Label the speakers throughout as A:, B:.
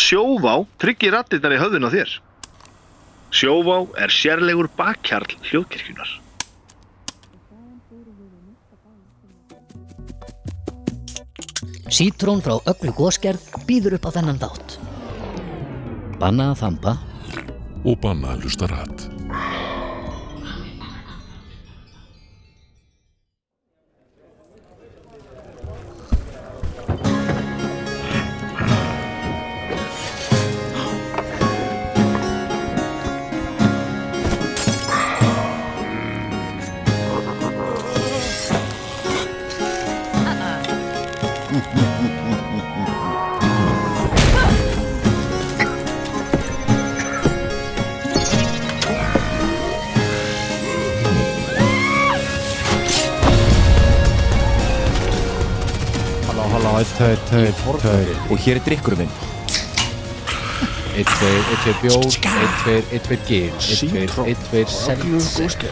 A: Sjóvá tryggir rattirnar í höfðun á þér. Sjóvá er sérlegur bakkjarl hljóðkirkjunar.
B: Sítrón frá öllu góskerð býður upp á þennan þátt. Banna að þamba
C: og banna að hlusta rætt.
D: Halló, halló, eitt, tveir, tveir, tveir
E: Og hér er drikkurum minn
D: Eitt, tveir, eitt, tveir bjór Eitt, tveir, eitt, tveir gil Eitt, tveir, eitt, tveir selt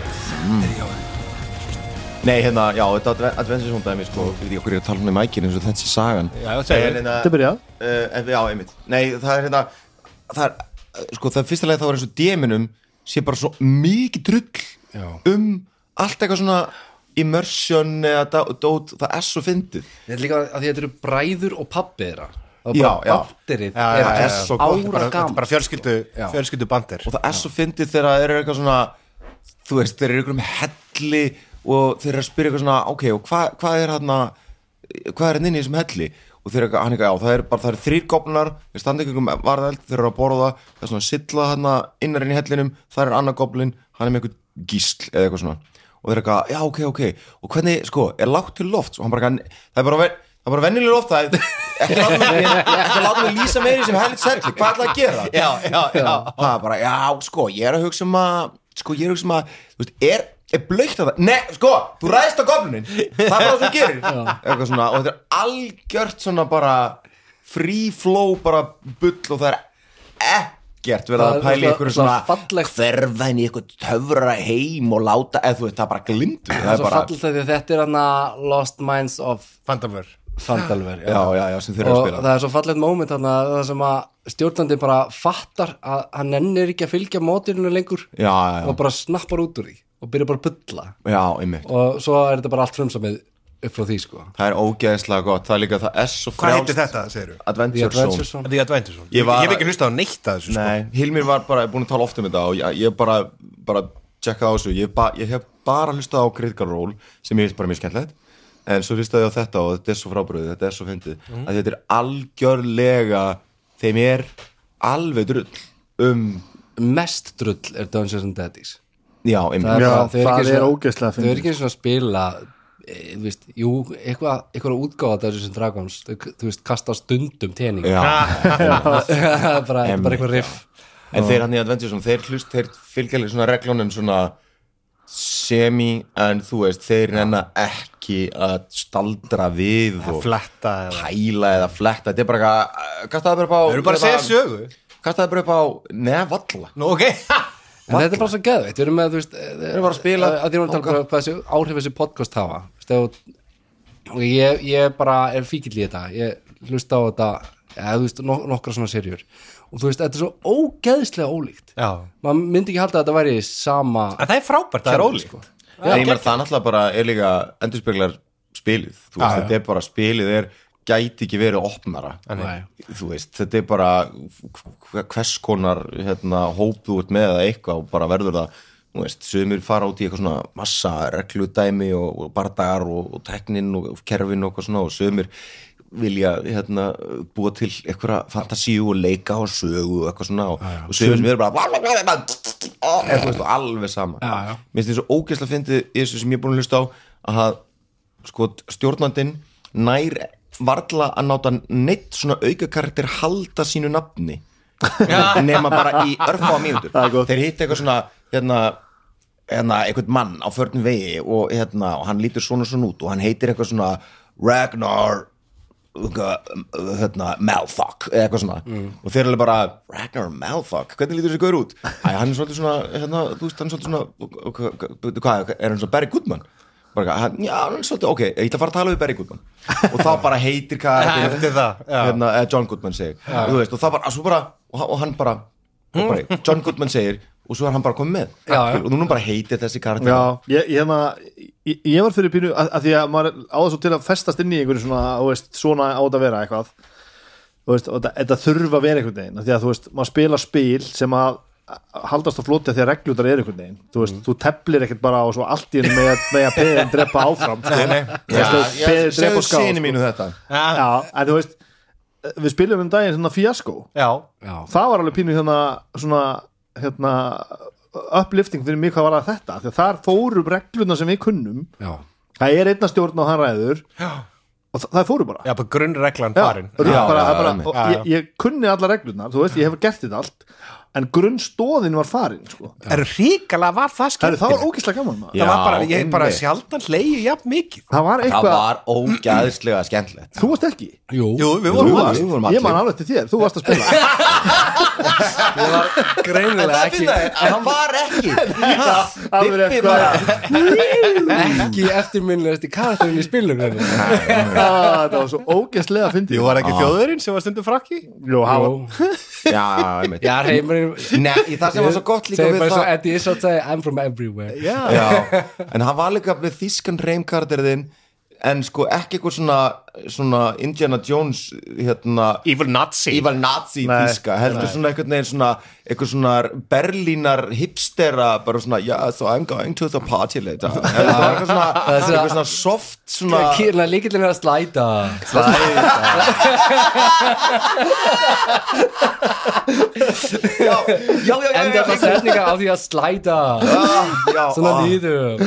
E: Nei, hérna, já, þetta adve- adventsisóndæmi, sko Við veit ekki okkur ég er að tala um það í mækir eins og þetta sé sagan Já,
D: já, segðu.
E: Þetta byrja En hérna, eh, já, einmitt Nei, það er hérna Það er, eh, sko, það er fyrsta leið þá er eins og djeminum sé bara svo mikið drull já. um allt eitthvað svona immersion eða dá- dót, það er svo fyndið
F: Þetta er líka að því þetta eru bræður og pappi þeirra Það
E: Já, já.
F: Batterið
G: Já,
F: er
G: já,
F: bara sko.
G: já, já.
F: ára
G: bara,
F: gaman
G: bara fjölskyldu, fjölskyldu bandir
E: og það er svo fyndið þegar þeir eru eitthvað svona þú veist, þeir eru eitthvað um helli og þeir eru að spyrja eitthvað svona ok, og hva, hvað er hérna hvað er hérna inn í þessum helli og þeir eru eitthvað, hann eitthvað, já, það eru bara, það eru þrýr gopnar þeir standa ekki um varðeld, þeir eru að borða það er svona silla hérna innarinn í hellinum það er annar goblin, hann er með eitthvað gísl eða eitthvað svona, og þeir eru eitthvað, já, ok, ok og hvernig, sko, er lágt til loft og hann bara, eitthvað, það er bara, ven- það er bara venjuleg loft það er ekki láta mig- ekki láta mig lýsa meiri sem helvits helli, hvað er það að gera já, já, já, það er bara, já, sko ég er að hugsa um að, sko, ég er að hugsa um að þú veist, er, er blökt að það ne, sko, þú ræðist á goblunin það er bara það sem þú gerir, eitthvað svona og þetta er algjört svona bara free flow, bara bull og það er ekkert verið
F: Það
E: að
F: er
E: pæla í
F: svona-
E: ykkur
F: svona
E: svona,
F: fallegt-
E: hverfa inn í ykkur töfra heim og láta, eða þú veist, það er bara glindu
F: Það er svo fallit að þetta er hann að Lost Minds of
G: Fandamör
F: Fandalver
E: já, já, já, sem þeir eru að
F: og
E: spila
F: það er svo fallet moment hann að það sem að stjórnandi bara fattar að hann nennir ekki að fylgja mótirinu lengur
E: já, já, já,
F: og bara snappar út úr því og byrjar bara að bulla
E: já, einmitt
F: og svo er þetta bara allt frumsamið upp frá því sko
E: Það er ógeðslega gott, það er líka, það er svo frjálst
G: Hvað heitir þetta, segir þú?
F: The
E: Adventure,
F: Adventure
E: Zone
F: Zone sko.
G: Þetta er Adventuresson
E: Ég
G: Ég,
E: var-
G: ég hef ekki hlustað á neitt að þessu
E: Nei, Hilmir var bara búin að tala oft um þetta og ég, ég bara, bara tjekka á þessu ég, ba, ég hef bara hlustað á Critical Role sem ég veist bara mjög skemmtilegt en svo hlustaði ég á þetta og þetta er svo frábröðið þetta er svo fyndið,
F: Mm.
E: að þetta er algjörlega þeim er alveg drull um,
F: mest drull er Dungeons and Daddies
E: já, einmitt
F: Það er
H: Já,
F: bara- þau eru
H: það
F: ekki
H: er
F: svona-
H: ógeðslega
F: þau eru
H: fyndið.
F: ekki einu svona að spila e, þú veist, jú, eitthvað eitthvað útgáfa Dungeons and Dragons þau, þú veist, kasta stundum tening
E: já,
F: bara, bara
E: Em,
F: eitthvað riff
E: en þeir hann í Adventure Zone, þeir hlust þeir fylgjalið svona reglunum svona semi, en þú veist þeir nennar ekki að staldra við
G: sko.
E: og
G: Fletta eða
E: pæla eða fletta þetta er bara eitthvað, uh, kastaði bara upp á
G: Þau eru bara að segja sögu
E: kastaði bara upp á, neða valla
G: Nú, ok
F: En þetta er bara svo geðveitt, við erum með, þú veist Við erum bara að
E: spila-
F: Að því erum að tala um hvað þessi áhrif þessi podcast hafa Þú veist, ef- og ég, ég bara er fíkill í þetta Ég hlusta á þetta, eða þú veist, nok nokkra svona serjur Og þú veist, þetta er svo ógeðslega ólíkt
G: Já
F: Maður myndi ekki halda að þetta væri sama
G: En það er frábært, það er ólíkt
F: sko.
E: en ég meina það náttúrulega bara er líka endurspeglar spilið, þú veist, þetta er bara spilið er, gæti ekki verið opnara
F: Nei.
E: þú veist, þetta er bara hver- hvers konar hérna, hóp þú ert með eða eitthvað og bara verður það þú veist, sumir fara út í eitthvað svona massa regludæmi og, og bardagar og, og teknin og kerfin og eitthvað svona og sumir vilja hérna, búa til eitthvað fantasíu og leika og sögu og eitthvað svona og, og sumir sem eru bara er, þú veist, og alveg sama
F: Já, já.
E: mér finnst þið svo ógeðslega fyndið í þessu sem ég er búin að hlusta á að það, sko, stjórnandinn nær varla að náta neitt svona aukakarakter halda sínu nafni nema bara í örfáa mínútur
H: Það er gott.
E: þeir hitt eitthvað svona hérna, hérna, eitthvað mann á förnum vegi og, hérna, og hann lítur svona svona út og hann heitir eitthvað svona Ragnar eitthvað, hérna, Malfuck eða eitthvað svona
H: Mm.
E: og þeir eru alveg bara Ragnar Malfuck, hvernig lítur þessi gaur út? Æ, hann er svolítið svona, hérna, þú veist, hann er svolítið svona og- og- og- hvað, er hann svona Barry Goodman? bara, eitthvað, hann- já, hann er svolítið, ok, ég ætla að fara að tala við Barry Goodman og þá bara heitir karakterinn-
G: Eftir það, já.
E: hérna, eh, John Goodman segir Þú veist, og það bara, svo bara, og, hann- og hann bara, og bara John Goodman segir og svo er hann bara komið með
F: Hmm? Já, já.
E: og núna bara heitir þessi karakter
H: Já, ég, ég, hérna, ég, ég var fyrir pínu að, að því að maður á þessu til að festast inn í einhverju svona, þú veist, svona á þetta að vera eitthvað þú veist, og þetta- þetta þurfa að vera einhvern veginn af því að þú veist, maður spila spil sem að að haldast á floti af því að reglundar er einhvern veginn þú
E: Mm.
H: veist, þú teplir ekkert bara og svo allt í enn með, með að peðin drepa áfram sko. Þú veist, þú
E: ég,
H: peðin drepa
E: segðu
H: og ská
E: síni
H: sko.
E: mínu þetta
H: Já, en þú veist, við spilum um daginn svona fíaskó
G: Já,
H: það var alveg pínu hérna svona hérna upplifting fyrir mig hvað var að þetta því að þar fóru regluna sem við kunnum
F: já,
H: það er einna stjórn og hann ræður já. og það, það fóru bara
G: já, bara grunnreglan farin
H: og það bara,
E: já,
H: það bara,
E: einmitt.
H: og
G: Já, já.
H: ég, ég kunni alla reglunar, þú veist, ég hef gert þetta allt en grunnstóðin var farin sko.
G: Er ríkala, var það
H: það, það var
G: skemmtilegt?
H: ógeðslega gaman maður
G: Það var bara,
E: Já,
G: ég bara
E: einmitt.
G: sjaldan hleyju jafn mikið
H: það var
E: það
H: eitthvað,
E: var ógæðslega skemmtilegt
H: þú varst ekki
F: jú,
G: Jú, við
H: þú
G: vorum
E: varst- við vorum
H: varst,
E: allir.
H: ég man alveg til þér, þú varst að spila
G: greinilega ekki
E: hann var ekki
H: alveg sko. eitthvað,
F: ekki eftirminnilegasti karakterinn í spilum já,
H: það var svo ógeðslega fyndið
G: Jú, var ekki þjóðurinn sem var stundum frakki?
H: Jú, það var-
E: já, einmitt
F: heimurinn
E: Nei, í það sem var svo gott líka
F: segir
E: við
F: bara svo,
E: það
F: Eddie Izzard sagði I'm from everywhere
E: Já, en hann var líka með þýskan reymkarderðin en sko ekki eitthvað svona, svona Indiana Jones hérna,
G: Evil Nazi
E: evil nazi
H: Nei,
E: þýska heldur svona eitthvað neginn svona eitthvað svona berlínar hipstera bara svona, yeah, so I'm going to the party later Heldur, það var eitthvað svona, eitthvað svona soft svona
F: kýrna líkillin er að slæta
E: já, já, já, já,
F: enda
E: já,
F: það setninga á því að slæta
E: já,
F: svona
E: ah.
F: nýður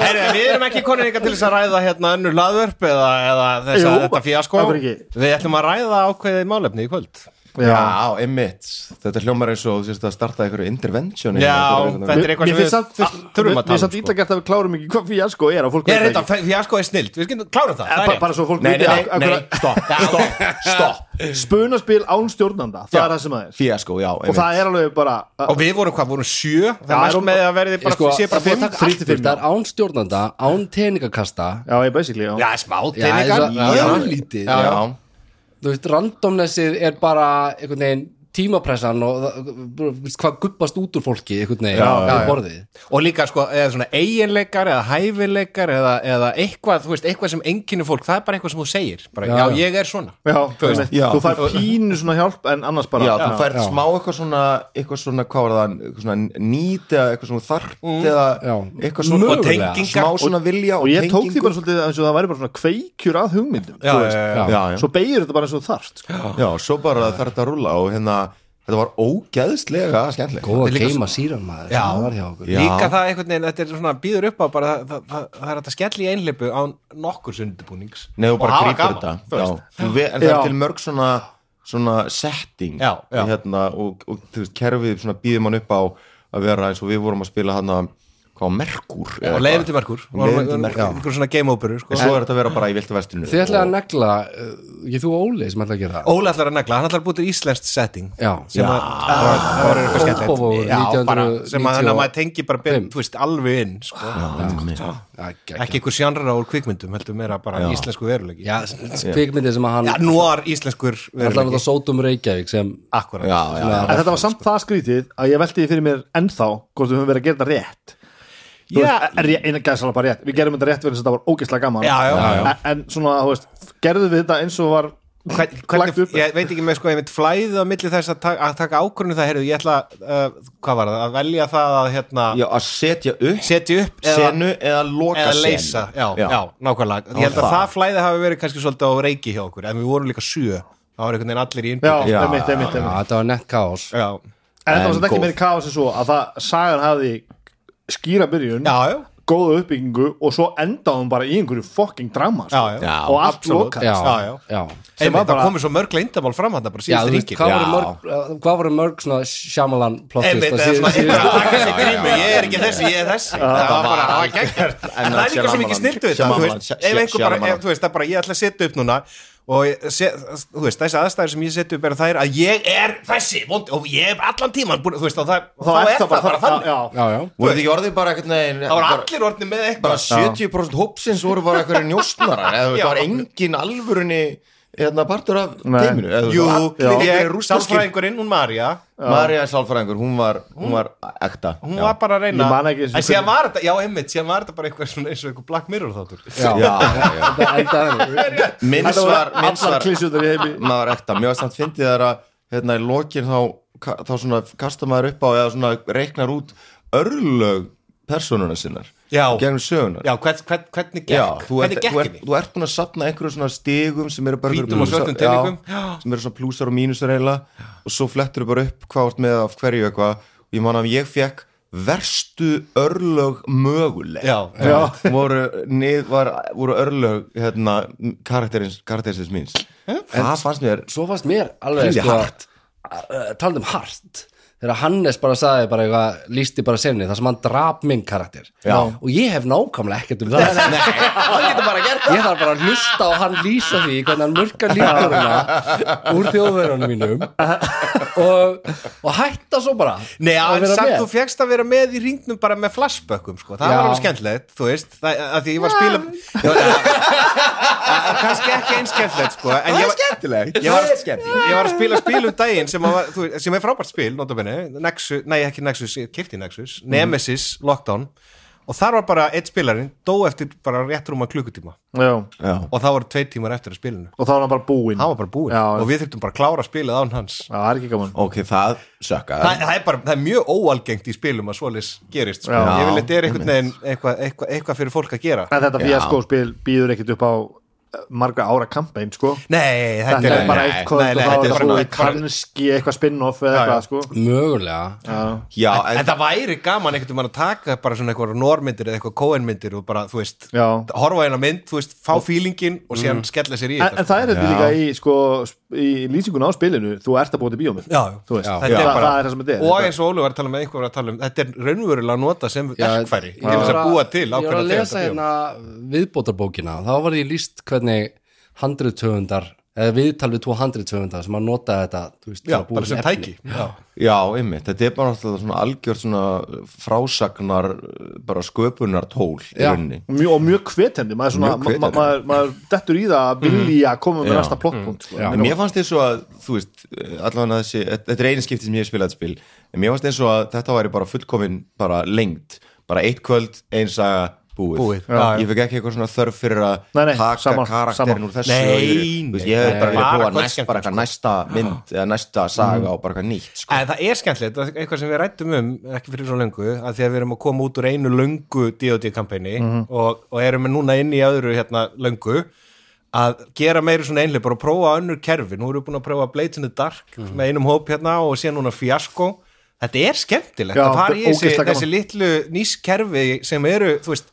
G: Heri, við erum ekki konur ykkar til þess að ræða hérna önnur laðvörp eða, eða þess að
H: Jú,
G: þetta fíaskó
H: af hverju ekki?
G: Við ætlum að ræða ákveðið málefni í kvöld
H: Já.
E: Já, einmitt Þetta hljómar eins og þú sést að starta einhverju intervention
G: Já,
E: Einhverju-
G: þetta er eitthvað
H: Mér
G: sem við
H: finnst samt-
G: þur- þurfum að
H: mér finnst
G: tala
H: samt illa gert að við klárum ekki hvað fíasko er á fólk
G: Ég
H: veit
G: er
H: það
G: þetta, fíaskó er snilt, við skilum klára það,
H: ekki.
G: það
H: bara,
G: er
H: bara
G: rétt
H: svo fólk
E: Nei,
H: veit
E: nei, nei, nei, stopp, stopp, stopp
H: spunaspil án stjórnanda það
E: Já.
H: er það sem það er
E: Fíaskó, já,
H: og það er alveg bara
G: Og við vorum hvað, vorum sjö, það
H: Já,
G: er mælt
H: erum-
G: með að verði bara,
F: sko,
G: sé bara
F: það er
G: fimm
F: búið að taka allt
H: Þrír
F: burt.
H: til fimm,
F: Það er án stjórnanda, án teiningakasta
H: já, ég basically já.
G: Já, smá,
F: Já, það er
G: teiningar
F: svo- það er svo lítið
E: Já, já.
F: þú veist, randomnessið er bara einhvern veginn tímapressan og það- bara, veist, hvað guppast út úr fólki einhvern veginn, já, já, borðið
G: og líka sko, eða svona eiginleikar eða hæfileikar eða, eða eitthvað, þú veist, eitthvað sem enginu fólk, það er bara eitthvað sem þú segir bara, já,
F: Já.
G: ég er svona
H: Já,
G: Þú veist,
H: einmitt.
E: já.
H: þú fær pínu svona hjálp en annars bara
E: já, þú færð
F: já.
E: smá eitthvað svona eitthvað svona, hvað var það, eitthvað svona nýt eða eitthvað svona þarft eða
F: já.
E: eitthvað svona
F: Mögulega.
E: og smá svona vilja
H: og ég tók því
E: tengingu.
H: bara svolítið eins og það væri bara svona kveikjur að hugmyndum
G: já,
H: þú
G: já,
H: veist.
G: já, já.
E: já, já.
H: svo beigir þetta bara eins og þarft sko.
E: já, svo bara þarf þetta að rúlla og hérna, þetta var ógeðslega skemmtileg
F: góða
G: líka
F: geima síran maður
G: Já.
F: það var hjá okkur
E: Já.
G: líka það einhvern veginn, þetta er svona býður upp á bara, það, það, það, það er hægt að skella í einleipu á nokkurs undirbúnings
E: Nei, þú bara
G: hafa
E: grípur
G: gaman, þú
E: þetta já.
G: veist.
E: Þú ve- en það
H: Já.
E: er til mörg svona svona setting
G: Já, já.
E: Hérna, og, og þú veist, kerfið svona býðum hann upp á að vera eins og við vorum að spila hann að hvað, merkur
G: og leiðum til merkur
E: Leiðum til Merkur.
G: einhver svona game operu sko.
E: en svo er þetta að vera bara í viltu vestinu
F: þið ætlaði að negla, uh, ég þú og Óli sem ætlaði að gera það
G: Óli ætlar að negla, hann ætlar að búið til íslenskt setting
F: já,
G: sem að Ah. það var eitthvað
F: Kópavogur,
G: skemmtilegt Já, bara, sem að þannig að maður tengi bara
F: 1995.
G: beint, þú veist, alveg inn sko.
F: já,
G: ekki einhver sjánra úr kvikmyndum heldur meira bara íslensku veruleiki
F: já, kvikmyndið sem að hann
G: Já, nóar íslenskur
F: ætlaði að
G: veruleiki
F: það sótum Reykjavík sem
G: Akkurat
E: já, já,
F: svona-
H: en þetta var
G: sko.
H: samt það skrítið að ég velti því fyrir mér ennþá hvort við höfum verið að gera þetta rétt Þú
G: Já.
H: veist, er ég eina gæðsala bara rétt við gerum þetta rétt verið þess að þetta var ógeðslega gaman
G: Já, já, já.
H: En, en svona, þú veist, gerðum við þetta eins og var
G: Hvern,
H: Lagt
G: hvernig,
H: upp.
G: ég veit ekki með sko einmitt flæðið á milli þess að, ta að taka ákvörðinu það heyrðu, ég ætla að, uh, hvað var það, að velja það að hérna,
E: já, að setja upp
G: setja upp eða,
E: senu eða loka
G: eða
E: senu.
G: leysa, já, já, nákvæmlega ég held að
E: það.
G: það, flæðið hafi verið kannski svolítið á reiki hjá okkur, en við vorum líka sjö það var einhvern veginn allir í
H: já,
G: innbyrðis
E: Já.
H: einmitt, einmitt,
F: já,
H: einmitt.
F: þetta var nett kaos
G: já,
H: en þetta var
E: En
H: samt ekki
E: góð.
H: meiri kaos en svo að það sagan hafði skýra byrjun,
G: já, já,
H: góða uppbyggingu og svo endaði hún bara í einhverju fucking drama sko.
G: já, já.
H: og allt
G: absolutt.
H: lokað
F: já,
G: Já, já.
F: já
H: Sem var
G: einmitt,
H: bara-
G: það komið svo mörg leindamál fram hann bara
F: Já, þú
G: síðast
F: veist,
G: ríkir
F: hvað voru mörg, uh, hvað voru mörg svona Shyamalan sko, plottist
G: einmitt, það er svona ég bara taka sér grímu, ég er ekki þessi, ég er þessi það var bara, það var geggjart en það er líka svo mikið sniltu við þetta, þú veist, ef einhver bara, ef þú veist, það er bara, ég ætla að setja upp núna og ég sé, þú veist, þessi aðstæður sem ég seti upp er þær að ég er þessi vond, og ég er allan tíman búin, þú veist, og það, þá, er það bara, þannig
H: já, já.
F: já, já,
E: voru þið ekki orðið bara eitthvað neginn
G: það var allir orðni með eitthvað
E: bara 70% hópsins voru bara eitthvað njósnarar eða
G: Já.
E: það var engin alvörunni hérna, partur af
H: Nei.
E: teiminu eða,
G: Jú,
E: allir
G: ég,
E: ég, sálfræðing
G: sálfræðingurinn, hún Marja
E: Marja er sálfræðingur, hún var, hún var ekta
G: hún
E: Já.
G: var bara að reyna
H: Ég man ekki eins og
G: en síðan
H: hvernig-
G: var þetta, já einmitt, síðan var þetta bara eitthvað svona eins og eitthvað Black Mirror þáttur
E: já, já, já.
F: þetta endaði þannig.
E: minns
H: Þetta
E: var,
H: var
E: minns
H: allar
E: var
H: klísjóttar í heimi
E: maður ekta, mjög samt fyndið þar að hérna í lokin þá, ka- þá svona kasta maður upp á eða svona reiknar út örlög persónuna sinnar
G: Já.
E: gegnum sögunar
G: já, hvern, hvern, hvernig gekk,
E: þú ert,
G: hvernig
E: þú,
G: gekk
E: ert,
G: henni
E: þú ert búin að sapna einhverjum svona stigum sem eru bara
G: Hvítum
E: einhverjum
G: og svörtum
E: plúsar-
G: teningum.
E: já,
G: Já.
E: sem eru svona plúsar og mínusar eiginlega og svo flettur bara upp hvað átt með af hverju eitthvað og ég man að ég fekk verstu örlög möguleg
G: já,
E: voru, nið, var, voru örlög hérna, karakterins, karakterins míns
G: Hm?
E: það fannst mér
F: svo fannst mér alveg sko,
E: Hlýði hart.
F: talað um hart þegar Hannes bara sagði bara eitthvað lísti bara senni þar sem hann drap minn karakter
E: Já.
F: og ég hef nákvæmlega ekkert um það Nei, hann getur bara gert það ég þarf bara að hlusta og hann lýsa því hvernig hann mörkar líkuruna úr þjóðverðunum mínum og, og hætta svo bara
G: Nei,
F: að
G: en
F: vera
G: samt
F: með.
G: þú fegst að vera með í ringnum bara með flashbökkum, sko, það
F: Já.
G: var alveg skemmtilegt þú veist, það, að því ég var að spila já, já, kannski ekki eins skemmtilegt, sko, en ég var
E: skemmtilegt
G: ég var, ég var að spila spil um daginn sem, að var, þú, veist, sem er frábært spil notabene, Nexus, nei ekki Nexus, ég kefti Nexus Nemesis, Lockdown og þar var bara eitt spilarinn, dó eftir bara rétt rúma klukkutíma
H: Já.
E: já,
G: og það voru tveit tímar eftir að spilinu
H: og þá var hann bara búinn
G: hann var bara búinn
H: Mhm. Já.
G: og við þurftum bara að klára spilið án hans
H: Já, það er ekki gaman
E: ok, það sökka
G: Þa, það, er bara, það er mjög óalgengt í spilum að svoleiðis gerist sko.
H: Já.
G: ég vil þetta er einhvern veginn eitthvað eitthva, eitthva fyrir fólk að gera
H: en þetta
E: Já.
H: fíaskó spil býður ekkit upp á eh, margra ára kampain sko
G: nei, þetta,
H: þetta er
G: nei,
H: bara
G: nei,
H: eitt kvöld
G: nei, nei,
H: og þá
G: þetta
H: er
G: er
H: það
G: bara-
H: búið kannski eitthvað spin-off eða eitthvað sko
F: mögulega
E: já,
G: En,
E: en,
G: það væri gaman einhvern veginn að taka bara svona eitthvað normyndir eða eitthvað kóenmyndir og bara, þú veist,
H: Já. Mm.
G: horfa hérna mynd, þú veist, fá fílingin og síðan skella sér í
H: en, en það er þetta líka í, sko, sp- í lýsingun á spilinu þú ert að búið til bíómið
G: Já, já.
H: Þú veist,
G: Þetta
H: það,
G: er bara-
H: það er það sem þetta er
G: og
H: Þetta-
G: eins og Ólu var að tala með einhver var að tala um þetta er raunverulega nota sem
F: Já,
G: verkfæri
F: ég
G: til þess
F: var
G: að búa til
F: ég var að
G: ákveðna
F: lesa
G: tegund af bíómynd.
F: hérna viðbótarbókina þá var ég líst hvernig handriðtöfundar eða viðtal við tvo handriðtöfundar sem að nota þetta þú veist, til
G: Já,
F: að búa
G: bara
F: til
G: sem
F: efni.
G: tæki Já.
E: já, einmitt þetta er bara alltaf svona algjör svona frásagnar, bara sköpunar tól í
F: Já.
E: rauninni
H: Mjög, og mjög hvetjandi, maður, svona,
E: Mjög
H: mjög
E: hvetjandi.
H: maður, maður dettur í það að vilja koma með
E: Já.
H: næsta plottpunkt sko.
E: En mér fannst eins og að, þú veist, allavega þessi, þetta er einu skipti sem ég hef spilað þetta spil, en mér fannst eins og að þetta væri bara fullkomin bara lengt, bara eitt kvöld, ein saga, búið.
G: Búið,
E: Já, ég fekk ekki eitthvað svona þörf fyrir að
H: Nei, nei,
E: taka
H: sama-
E: karakterin
H: sama.
E: úr þessu.
G: Nei,
E: og yfir- þú veist, Ég hef bara
G: nei, bara
E: viljað
G: hvað
E: búa næst,
G: skemmtilegt,
E: bara eitthvað næsta mynd eða næsta saga og bara eitthvað nýtt, sko.
G: En það er skemmtilegt, það er eitthvað sem við rættum um ekki fyrir svo lengu, að því að við erum að koma út úr einu löngu D.O.D.-kampæni
F: Mhm.
G: og, og erum núna inn í öðru hérna, löngu að gera meiri svona einlega bara að prófa önnur kerfi nú erum við búin að prófa Blade in the Dark
F: Mhm.
G: með einum hóp hérna og síðan núna Fiasco þetta er skemmtilegt að
H: Já,
G: fara í þessi,
H: ógeðslega gaman.
G: þessi litlu nýskerfi sem eru, þú veist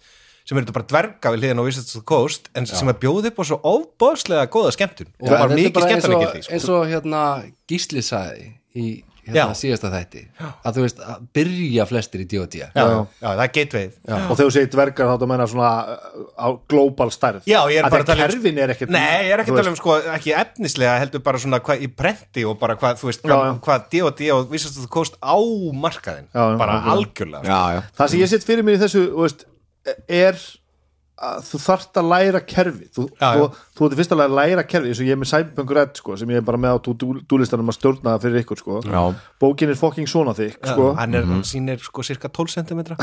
G: sem eru þetta bara dverga við hliðin á Wizards of the Coast en sem að bjóða upp á svo óbóðslega góða skemmtun og
F: Já,
G: bara
F: þetta er
G: mikið
F: bara eins og-
G: skemmtilegildi sko.
F: eins og hérna Gísli sagði í hérna,
G: Já.
F: síðasta þætti að þú veist að byrja flestir í D.O.D.
G: Já, já, það er gateway
H: og þegar þú segir dvergar þá þú meina svona uh, á global stærð
G: Já, ég er bara um-
H: að tala kerfin er ekkert
G: Nei, ég er ekki
H: þú
G: að tala
H: veist.
G: um sko, ekki efnislega heldur bara svona hvað í prenti og bara hvað, þú veist,
H: Já,
G: hvað,
H: já.
G: hvað D.O.D. og vissast þú kost á markaðin
H: Já, já,
G: bara
H: algjörlega.
G: algjörlega sko.
E: Já, já.
H: það sem ég sitt fyrir mér í þessu þú veist, er að þú þarft að læra kerfi þú,
G: Já,
H: þú, þú ert fyrst að læra kerfi eins og ég er með Cyberpunk Red sko, sem ég er bara með á dúlistanum að stjórna það fyrir ykkur sko.
E: Já.
H: bókin er fucking svona þig sko.
G: Hann er,
E: Mhm.
G: mm sýnir sko cirka 12 cm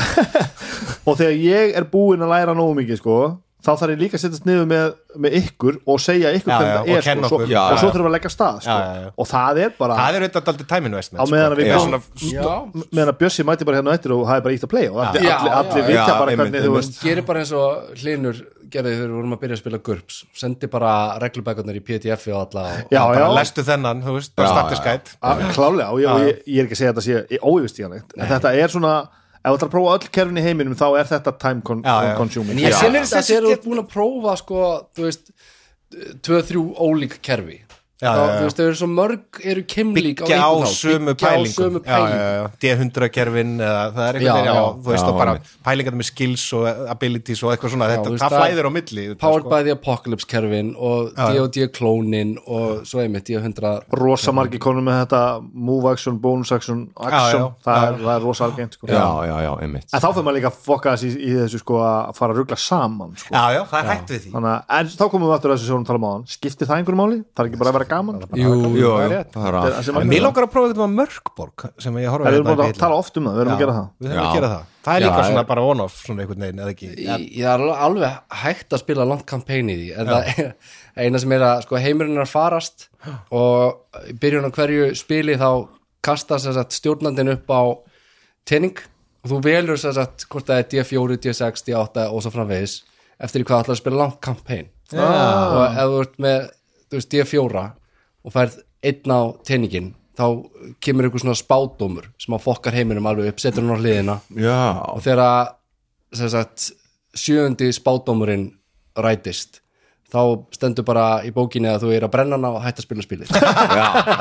H: og þegar ég er búinn að læra nógu mikið sko, þá þarf ég líka að setjast niður með, með ykkur og segja ykkur
G: Já,
H: hvernig
G: já,
H: það
G: og
H: er
G: kenna
H: sko, svo,
G: okkur. Já,
E: já,
H: og svo
E: já.
H: þurfum við að leggja af stað sko.
G: Já, já, já.
H: og það er bara
G: Það er auðvitað aldrei tæminu veist
H: á meðan að við
E: Já.
H: bjóðum meðan að Bjössi mæti bara hérna á eftir og hafi bara ítt að play og allir,
F: Já,
H: allir,
F: já,
H: allir
F: já.
H: vita
E: Já,
H: bara
E: einmitt,
H: hvernig þú
E: einmitt.
H: veist
F: gerir bara eins og Hlinur gerði þegar við vorum að byrja að spila GURPS sendi bara reglubækarnir í PDF-i og alla og
H: já,
G: bara
H: já,
G: lestu þennan, þú veist, bara
E: Já,
G: startið
E: já.
G: skætt
H: að- klálega Ah, og ég, og ég, ég er ekki að segja þetta sé óyfistíðanlegt en þetta er svona, ef þú ætlar að prófa öll kerfin í heiminum þá er þetta time con
G: Já, já.
H: consuming
F: ég
H: Já.
F: sé mér þess að þér eru búin að prófa sko, þú veist, tvö, þrjú ólík kerfi
G: já,
F: þá,
G: já, já.
F: þú veist, þau eru svo mörg eru kemlík
G: byggja á
F: einhvern hátt,
G: sömu
F: byggja á
G: pælingum
F: sömu pælingu.
G: D100-kerfin eða það er
F: Já,
G: eitthvað já,
F: já.
G: þú veist
E: Já,
G: og bara
E: einmitt.
G: pælingar með skills og abilities og eitthvað svona,
F: þú
G: þetta,
F: veist,
G: það
F: það-
G: flæðir á milli þetta,
F: Powered
G: sko.
F: by the Apocalypse kerfin og D.O.D. klónin og svo einmitt D100
H: rosa margi konum með þetta move action, bonus action, action
G: Já, já,
H: það,
G: já.
H: er, það er rosa algengt sko.
E: já, já, já, einmitt
H: en þá fyrir maður líka að fokka þessi í, í þessu sko að fara að ruggla saman sko.
G: já, já, það er hægt við því
H: Þannig að, en þá komum við aftur að þessu sem við talaðum á hann skiptir það einhverju máli? Það er ekki bara að vera gaman?
F: Jú,
E: Jú,
H: það er
E: jú,
H: rétt.
E: það er
H: Það
E: að
H: er það sem
G: En
H: að-
G: Mér langar að prófa eitthvað mörkborg sem ég horfa
H: Það
G: hérna
H: erum búin
G: í
H: að
G: bíl.
H: tala oft um það, við erum að gera það
G: Við þurfum
E: Já.
G: að gera það Það er
F: Já,
G: líka
F: já.
G: svona bara one-off svona einhvern veginn eða ekki
F: Í- Það er alveg- alveg hægt að spila langt kampæn í því en það er eina sem er að sko, heimurinn er að farast og í byrjun á hverju spili þá kastast þess að stjórnandin upp á tenning og þú velur þess að hvort það er D4, D6, D8 og svo framvegis eftir því hvað ætlar að spila langt kampæn og ef þú ert með þú veist, D4 og færð einn á tenningin þá kemur einhver svona spádómur sem að fokkar heiminum alveg upp, setur hann á hliðina
E: já,
F: og þegar að, sem sagt, sjöundi spátdómurinn rætist þá stendur bara í bókinni að þú er að brenna hana og hætta að spila spilið ég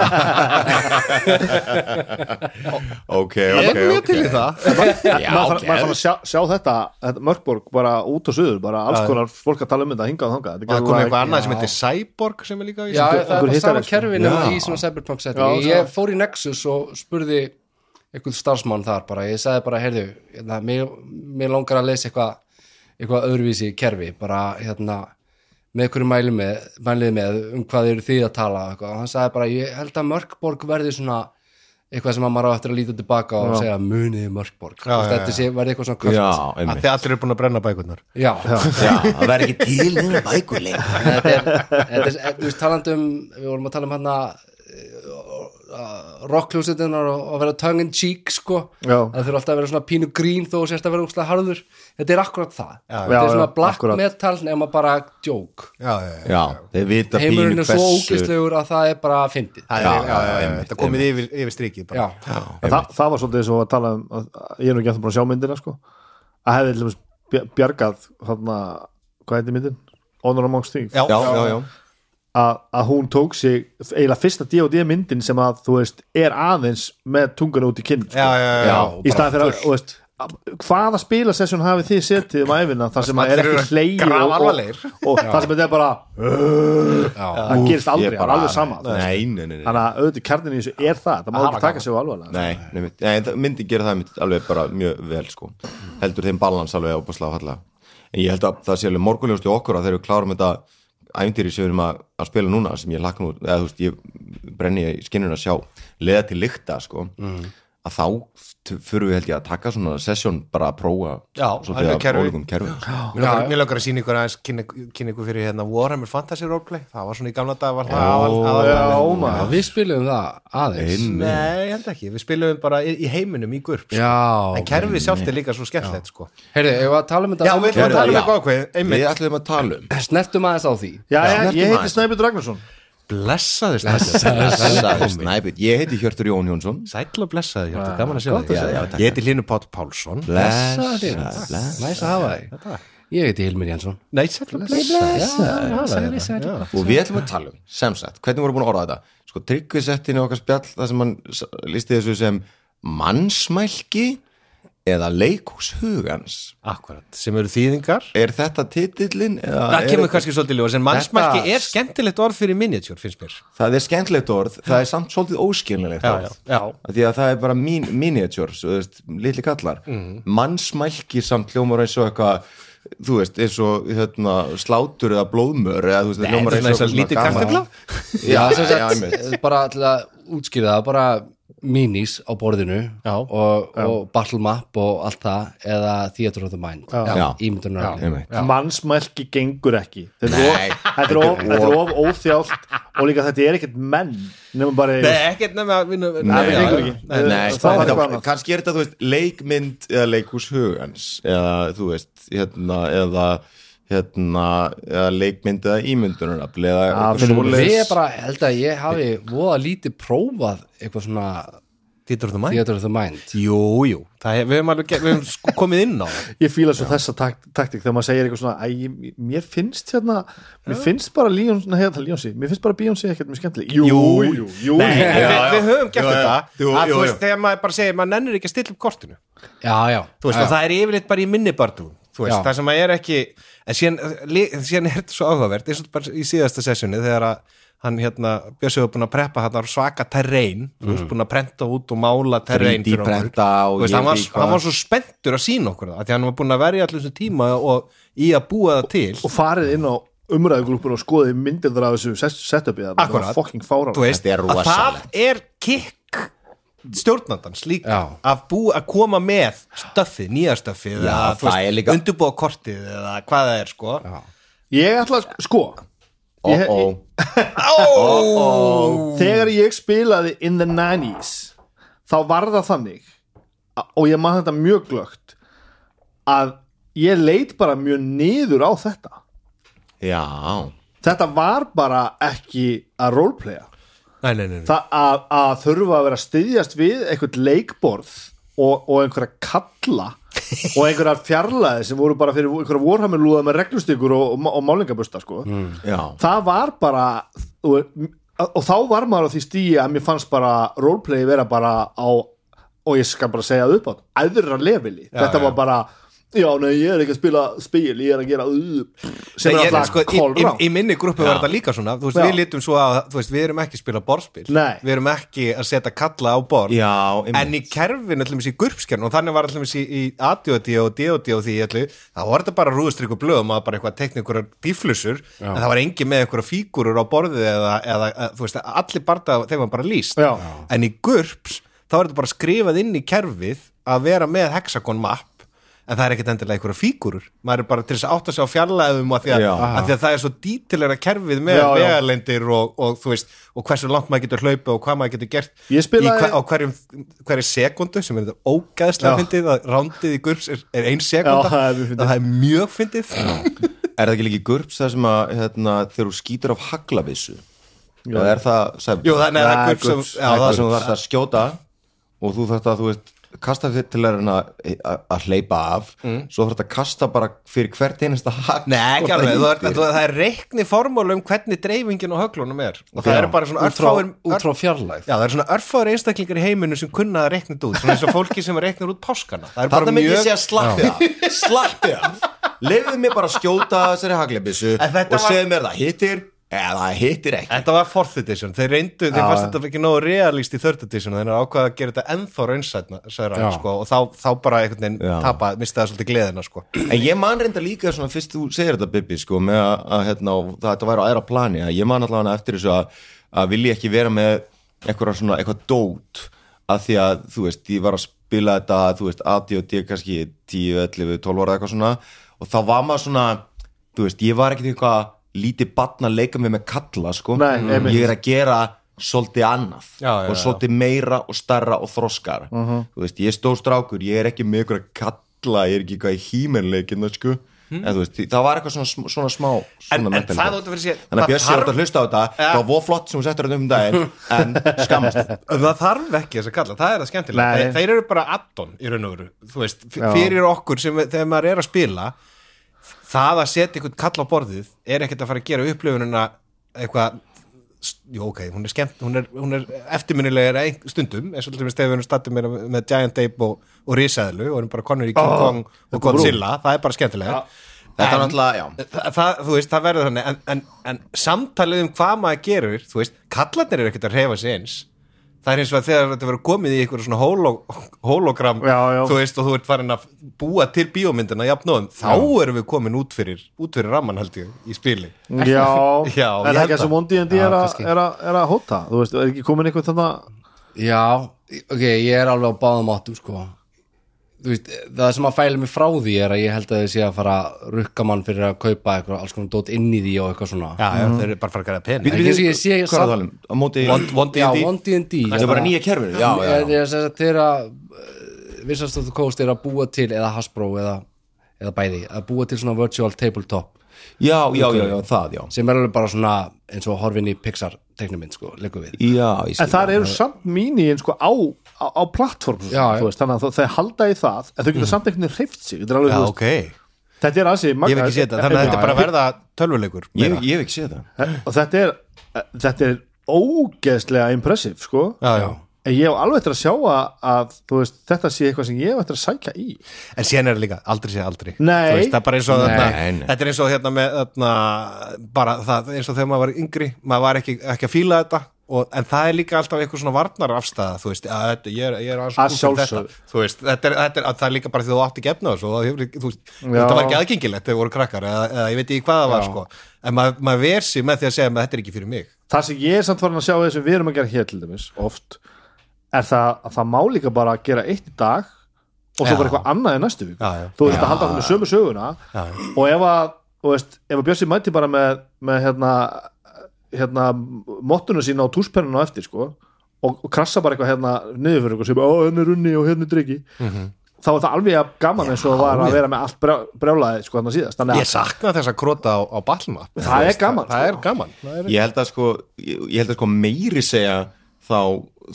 E: ok, ok, ok
G: það
H: Já, maður þarf maður þarf að sjá, sjá þetta, þetta mörgborg bara út og suður, bara alls konar fólk að tala um þetta hingað og þangað
G: Og það
H: gerðu
G: komið
H: bara-
G: eitthvað annað sem heitir Cyborg sem er líka á
F: já,
G: Íslandi.
F: það er
H: okkur
F: bara
H: hittar
F: sama
H: þessu.
F: kerfinu
E: Já.
F: í svona cyberpunk
H: Já,
F: setting
H: já.
F: ég fór í Nexus og spurði einhvern starfsmann þar bara, ég sagði bara, heyrðu hérna, mér, mér langar að lesa eitthvað eitthvað öðruvísi kerfi, bara hérna með hverju mælið með, mælið með um hvað eru þið að tala og eitthvað. og hann sagði bara, ég held að Mörkborg verði svona eitthvað sem að maður á eftir að líta tilbaka og segja muniði Mörkborg já,
G: já,
F: þetta sé, verði eitthvað svona kvöld
E: já,
G: Af
E: einmitt
G: því að allir eru búin að brenna bækurnar
F: Já,
E: já, það verður ekki til nýra bækuleg
F: þetta er, þetta er, þú veist, talandi um, við vorum að tala um hann að rockljósetunar og að vera tongue in cheek, sko,
H: Já.
F: að þurfa alltaf að vera svona pínu grín þó þú sérst að vera úrslega harður, þetta er akkurat það, þetta
H: Já,
F: er svona
H: já,
F: black
H: akkurat.
F: metal nema bara joke,
G: Já, já, já
E: já, þeir vita
F: heimurinn
E: pínu
F: er svo
E: hversu
F: ógistlegur að það er bara fyndið,
G: Það
E: Já,
G: er- já, já, já,
E: einmitt,
G: Þetta komið yfir, yfir strikið bara.
F: já,
H: En það, það var svolítið eins og að tala um að, að, ég er nú ekki eftir búin að sjá myndina sko. að hefði til dæmis bjar- bjargað þarna, hvað heitir myndin? Honor Amongst Thieves
G: Já,
E: já, já, já,
H: að, að hún tók sig eiginlega fyrsta D&D myndin sem að þú veist er aðeins með tungan út í kinn sko.
G: já, já, já, já.
H: í staðan fyrir að þú veist, að- hvaða spilasessjón hafið þið setið um æfina þar sem að er
G: allir
H: ekki
G: eru
H: hlegi og, og,
G: grafalvarlegir.
H: og þar sem þetta er bara uh, það gerist aldrei,
E: Ég
H: það er alveg sama þú veist.
E: nei, nei, nei, nei.
H: þannig að auðvitað kjarnin í þessu er það það má ekki taka sig á alvarlega sko.
E: Nei, nei, nei, nei, það myndi gera það einmitt alveg bara mjög vel sko heldur þeim balans alveg opaslega fallega en ég held að það sé alveg morgunljóst í okkur að þegar við klárum þetta æfndýri sem við erum að, að spila núna sem ég lakna út, eða þú veist, ég brenni í skinnuna að sjá, leða til lykta sko,
G: Mm.
E: að þá t- förum við held ég að taka svona sessjón bara að prófa
G: Já,
E: svolítið
G: alveg
E: af
G: kerfi.
E: ólíkum kerfum
G: Mér langar- Mér langar að sína ykkur aðeins kynna kynna ykkur fyrir hérna Warhammer Fantasy Roleplay Það var svona í gamla dag var það aðal- aðal-
H: já,
F: já,
H: maður
F: við spilum það aðeins,
G: Nei, ég held ekki, við spilum bara í, í heiminum í GURP sko.
F: já,
G: En kerfið sjálft er líka svo skemmtilegt sko.
F: heyrðu, ef að tala um þetta
G: Já, við ætlum að tala um
E: Já.
G: eitthvað ákveð Einmitt,
E: Við ætlum að tala um
F: snertum aðeins á því,
H: já, já,
E: snertum
H: ég heiti
E: aðeins.
H: Snæbjörn Ragnarsson
G: blessaði Snæbjörn
E: Sæll, Snæbjörn. Ég heiti Hjörtur Jón Jónsson
G: Sæll og blessaði, Hjörtur, gaman Ah, að sjá
E: að sjá þig.
G: þig Ég heiti Hlynur Páll Pálsson
E: Blessaður,
F: Blessaður.
E: blessaður.
F: næs að hafa þig, ég heiti Hilmir Jansson,
G: Nei, sæll og blessaði
E: og við ætlum að tala um, sem sagt, hvernig voru búin að orða þetta sko, tryggvið sett inn í okkar spjall þar sem hann s- listi þessu sem mannsmælki eða leikús hugans
G: Akkurat, sem eru þýðingar
E: er þetta titillin?
G: Það kemur kannski svolítið ljós, en mannsmarki
E: Þetta-
G: er skemmtilegt orð fyrir miniatjúr, finnst mér
E: það er skemmtilegt orð, það er samt svolítið óskilnilegt orð
G: já
E: Af því að það er bara mín, miniatures þú veist, litli kallar
G: Mhm.
E: mannsmælki samt hljómar eins og eitthvað þú veist, eins og hérna, slátur eða blóðmör eða þú veist, það hljómar
G: svona eins og
E: eitthvað
G: lítið
E: gamalt.
G: kartefla?
E: já,
F: Já, sem
E: já, einmitt.
F: sagt, Eh, bara til að útskýra það, bara minis á borðinu
G: Já.
F: og, og battle map og allt það eða theater of the mind
E: Já.
F: ímyndunaröfni
E: Einmitt.
H: mannsmælki gengur ekki þetta
E: Nei,
H: er of- þetta er of- þetta er of óþjált og líka þetta er ekkert menn nema bara
G: Nei, ekkert nefn að vinna
E: já,
H: það gengur
E: já.
H: ekki.
E: Nei,
H: Það-
E: nei,
H: það
E: það
H: var
E: er
H: eitthvað
E: það,
H: annað.
E: kannski er þetta, þú veist, leikmynd eða leikhús hugans eða, þú veist, hérna, eða hérna, eða leikmynd eða ímyndunarafl eða eitthvað
H: finnum
E: svoleiðis.
F: Ég bara held að ég hafi voða lítið prófað eitthvað svona
G: Theater of the Mind
F: Theater of the Mind
G: Jú, jú, það, hef- við höfum alveg ge- við höfum sko komið inn á það
H: ég fíla svo þessa tak taktik þegar maður segir eitthvað svona æ, ég- mér finnst hérna mér finnst bara Líons, neða hérna Líonsi mér finnst bara Bíonsi ekkert mjög skemmtileg jú,
G: Jú,
H: jú, jú
G: Nei,
E: já,
G: við,
E: já.
G: við höfum gert
E: Jú,
G: þetta
E: já. Jú,
G: að
E: jú,
G: þú
E: jú.
G: veist, þegar maður bara segir maður nennir ekki að stilla upp kortinu
F: Já, já
G: þú veist,
F: já,
G: og það er yfirleitt bara í minni barndú þú veist,
F: Já.
G: það sem að er ekki en síðan, li, síðan er þetta svo áhugavert eins og bara í síðasta sessjoni þegar að hann hérna, Bjössi var búin að preppa hann var svaka terrein, þú veist, búin að prenta út og mála terrein
E: 3D prenta Mhm. og
G: Þú
E: ég
G: veist, hann, var,
E: veit hvað.
G: hann var svo spenntur að sína okkur það, af því hann var búin að verja allir þessum tíma og í að búa það til
H: og farið inn á umræðugrúpun og skoðið myndirðar af þessu set- setupið þarna. það
G: Akkúrat.
H: var fucking fára
G: þú veist,
E: Þetta er
G: að það
E: rosalegt.
G: er kikk stjórnandans líka
F: Já.
G: að bú að koma með stöfið, nýja stöfið
E: Já,
G: eða, þú
E: það er líka-
G: undirbúa kortið eða hvað það er sko Já.
H: ég ætla að sko
E: Ó,
H: Ég-
E: ó.
H: þegar ég spilaði in the 90s þá var það þannig a- og ég maður þetta mjög glögt að ég leit bara mjög niður á þetta
E: Já,
H: þetta var bara ekki að roleplaya
G: Nei, nei, nei, nei.
H: það að, að þurfa að vera að styðjast við einhvern leikborð og, og einhverja kalla og einhverja fjarlæði sem voru bara fyrir einhverja vorhamilúða með reglustykur og, og, og málingabusta sko.
E: já
H: það var bara og, og þá var maður á því stíi að mér fannst bara roleplay vera bara á og ég skal bara segja það upp átt, aðra leveli þetta var bara, já nei ég er ekki að spila spil, ég er að gera uh, sem
G: Nei,
H: er
G: ég,
H: alltaf
G: sko, í, í,
H: kolrám
G: í minni grúppu var þetta líka svona þú veist,
H: Já.
G: við lítum svo að, þú veist, við erum ekki að spila borðspil
H: Nei.
G: við erum ekki að setja kalla á borð
E: Já,
G: en í kerfin allir í gurpskjörn og þannig var allir í, í ADOD og DOD og því allir, það var þetta bara rúðustrykku blöð og maður bara eitthvað að teikna einhverjar dýflussur en það var engin með einhverjar fígurur á borðið eða, eða að, þú veist, allir barða þeim var bara líst
H: Já.
G: en í gurps, þá er þetta bara skrifað inn í kerfið að vera með hexagon map en það er ekkert endilega einhverja fígurur maður er bara til þess að átta sig á fjarlæðum að því að,
E: Já.
G: að því að það er svo dítilegra kerfið með
H: Já, já.
G: vegalendir og, og, þú veist, og hversu langt maður getur hlaupa og hvað maður getur gert
H: Ég spilaði-
G: í hver, á hverjum, hverju sekundu sem er þetta ógæðslega
H: Já.
G: fyndið að rándið í gurps er, er ein
H: Já,
G: sekunda
H: það er mjög fyndið.
G: það er mjög fyndið
E: Er það ekki líki gurps það sem að hérna, þegar þú skýtur af haglavissu Það er það sem
G: Jú, það- nei, það er GURPS sem-
E: Það
G: já,
E: er
G: það
E: það
G: er
E: sem þú
G: GURPS.
E: þarft að skjóta og þú þarft að, þú veist kasta þér til að reyna að- að hleypa af svo þarft að kasta bara fyrir hvert einasta hagl
G: Nei, ekki
E: hvort
G: alveg,
E: það
G: það er,
E: hittir.
G: það, það er reikni formúlu um hvernig dreifingin á höglunum er og það
E: Já.
G: eru bara svona
F: Út frá,
G: örfáir
F: út frá
G: ör-
F: fjarlægð
G: Já, það eru svona örfáður einstaklingar í heiminu sem kunna að reikna þetta út, svona eins og fólki sem reiknar út páskana Það er bara
E: Þarna myndi ég
G: mjög
E: segja slappi af Slappi af Leifðu mér bara að skjóta þessari haglabissu
G: En þetta
E: og
G: var-
E: segðu mér það hittir eða það hittir ekki
G: Þetta var 4th edition, þeir reyndu, þeir fannst þetta ekki nógu realist í 3rd edition þeir ákvaða að gera þetta ennþá raunsætna særa,
F: Já.
G: sko, og þá, þá bara einhvern veginn
E: Já.
G: tapa, mista það svolítið gleðina sko.
E: En ég man reynda líka svona fyrst þú segir þetta Bibi sko með að, að hérna, og það, þetta væri á aðra plani að ég man allavega eftir þessu að, að vilji ekki vera með eitthvað svona eitthvað dót að því að þú veist, ég var að spila þetta þú veist, ADOD kannski 10, 11, 12 ára eitthvað svona og þá var maður svona, þú veist, ég var ekkert eitthvað lítið barn að leika mig með kalla sko,
H: Nei, einmitt.
E: ég er að gera svolítið annað
G: Já, já,
E: og
G: já.
E: svolítið meira og starra og þroskara
F: Mhm.
E: þú veist, ég er stór strákur, ég er ekki með ykkur að kalla, ég er ekki eitthvað í hímenleikin sko. en þú veist, það var eitthvað svona, sm- svona smá svona
G: Hmm? En- en
E: mentalitet.
G: það út af fyrir sér,
E: þannig
G: það
E: að Bjössi er
G: þarf-
E: út að hlusta á þetta það var voð flott sem hún settur þetta um daginn en skammast þín.
G: En það þarf ekki þess að kalla, það er það skemmtilega
H: Nei.
G: þeir, þeir eru bara addon í raun og veru þú veist, f- fyrir okkur sem við- þegar maður er að spila það að setja einhvern kall á borðið er ekkert að fara að gera upplifunina eitthvað jú ok, hún er skemmt, hún er, hún er eftirminnilega stundum, eins og til dæmis þegar við erum stattum með, með Giant Ape og, og Risaðlu og erum bara konur í King Kong og Godzilla það er bara skemmtilega
E: þetta er
G: En-
E: náttúrulega, já
G: Þa, það, þú veist, það verður þannig en, en, en samtalið um hvað maður gerur þú veist, kallarnir eru ekkert að reyfa sig eins það er eins og að þegar þetta verður komið í einhverju svona holo, hologram
H: Já, já.
G: þú veist, og þú ert farin að búa til bíómyndina jafnóðum, þá erum við komin út fyrir, út fyrir ramman held ég í spili
H: Já,
G: Já,
H: er
G: ég
H: það
G: held
H: ekki að
G: það.
H: svo Mondi en því
F: Já,
H: er, að-
F: kannski.
H: er, að- er að hóta þú veist, er ekki komin eitthvað þannig
F: Já, ok, ég er alveg á báðum áttum sko Þú veist, það sem að fæla mig frá því er að ég held að þið sé að fara að rukka mann fyrir að kaupa eitthvað alls konar dót inn í því og eitthvað svona
G: já, já, þeir eru bara að fara að gera
E: Bíddu,
G: pen
F: Ekki
E: bíddu,
F: eins og ég sé
E: hvað er
F: samt-
E: það talum? á móti,
G: One- one D&D.
F: Já, One D&D
E: þetta er bara nýja kerfinu já, já,
F: Ég-
E: já.
F: ég segi að þeirra Wizards of the Coast er að búa til eða Hasbro eða, eða bæði að búa til svona virtual tabletop
E: já, já, já, já, það, já
F: sem er alveg bara svona eins og horfin í Pixar teknumind sko, leggur við
E: já, ég
H: en
E: skil
H: þar eru samt míníin sko á, á, á plattform
F: Já, já.
H: veist, þannig að þau- þau halda í það en þau geta samt einhvern veginn hreift sig þetta er,
G: Mm.
H: alveg,
G: Já,
H: þú
G: ok, ég
H: veist, þetta er aðsig
G: hef ekki séð þetta Þannig að þetta er bara að verða tölvuleikur
E: ég,
G: meira.
E: ég hef ekki séð það
H: Eh, og þetta er, eh, þetta er ógeðslega impressive sko
G: Já, já
H: en ég hef alveg eftir að sjá að, að þú veist, þetta sé eitthvað sem ég hef eftir að sækja í
G: En síðan er það líka, aldrei sé aldrei
H: Nei.
G: Þú veist, það er bara eins og
E: Nei,
G: þarna
E: nei.
G: Þetta er eins og hérna með þarna, bara það, eins og þegar maður var yngri maður var ekki, ekki að fíla þetta og, en það er líka alltaf eitthvað svona varnar afstæða þú veist, að þetta, ég er, ég er aðeins
H: Að
G: kúl fyrir
H: sjálfsögðu.
G: þetta, þú veist, þetta er, þetta er, að það er líka bara því þú átti gefna þessu og það hefur ekki- þú veist,
H: Já.
G: þetta var ekki aðgengilegt þegar voru krakkar eða, eða ég veit ekki hvað það var sko en maður, maður ver sér með því að segja með þetta er ekki fyrir mig
H: það sem ég er samt farin að sjá í þessu við erum að gera hér til dæmis oft er það að það má líka bara að gera eitt í dag og svo
G: Já.
H: bara eitthvað annað í næstu vík
G: Já, já.
H: þú veist að halda hann með sömu söguna
G: Já.
H: og ef að, þú veist, ef að Bjössi mæti bara með, með hérna hérna mottuna sína og túspennuna á eftir sko og, og krassa bara eitthvað hérna niður fyrir eitthvað sem, ó, henni er unni og henni er drikki
G: Mhm.
H: þá er það alveg jafn gaman eins og það var að vera með allt brjá- brjálaði sko hann síðast þannig
G: Ég
H: að
G: sakna þess að króta á, á ballmap
H: það er gaman
G: Það
H: sko.
G: er gaman það er...
E: ég held að sko, ég, ég held að sko meiri segja þá,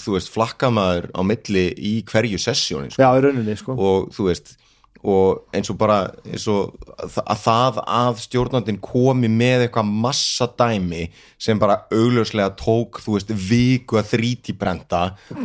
E: þú veist, flakkamaður á milli í hverju sessjóni sko.
H: já, í rauninni sko
E: og þú veist og eins og bara eins og þa- að það að stjórnandinn komi með eitthvað massa dæmi sem bara augljóslega tók þú veist viku að þrítibrenda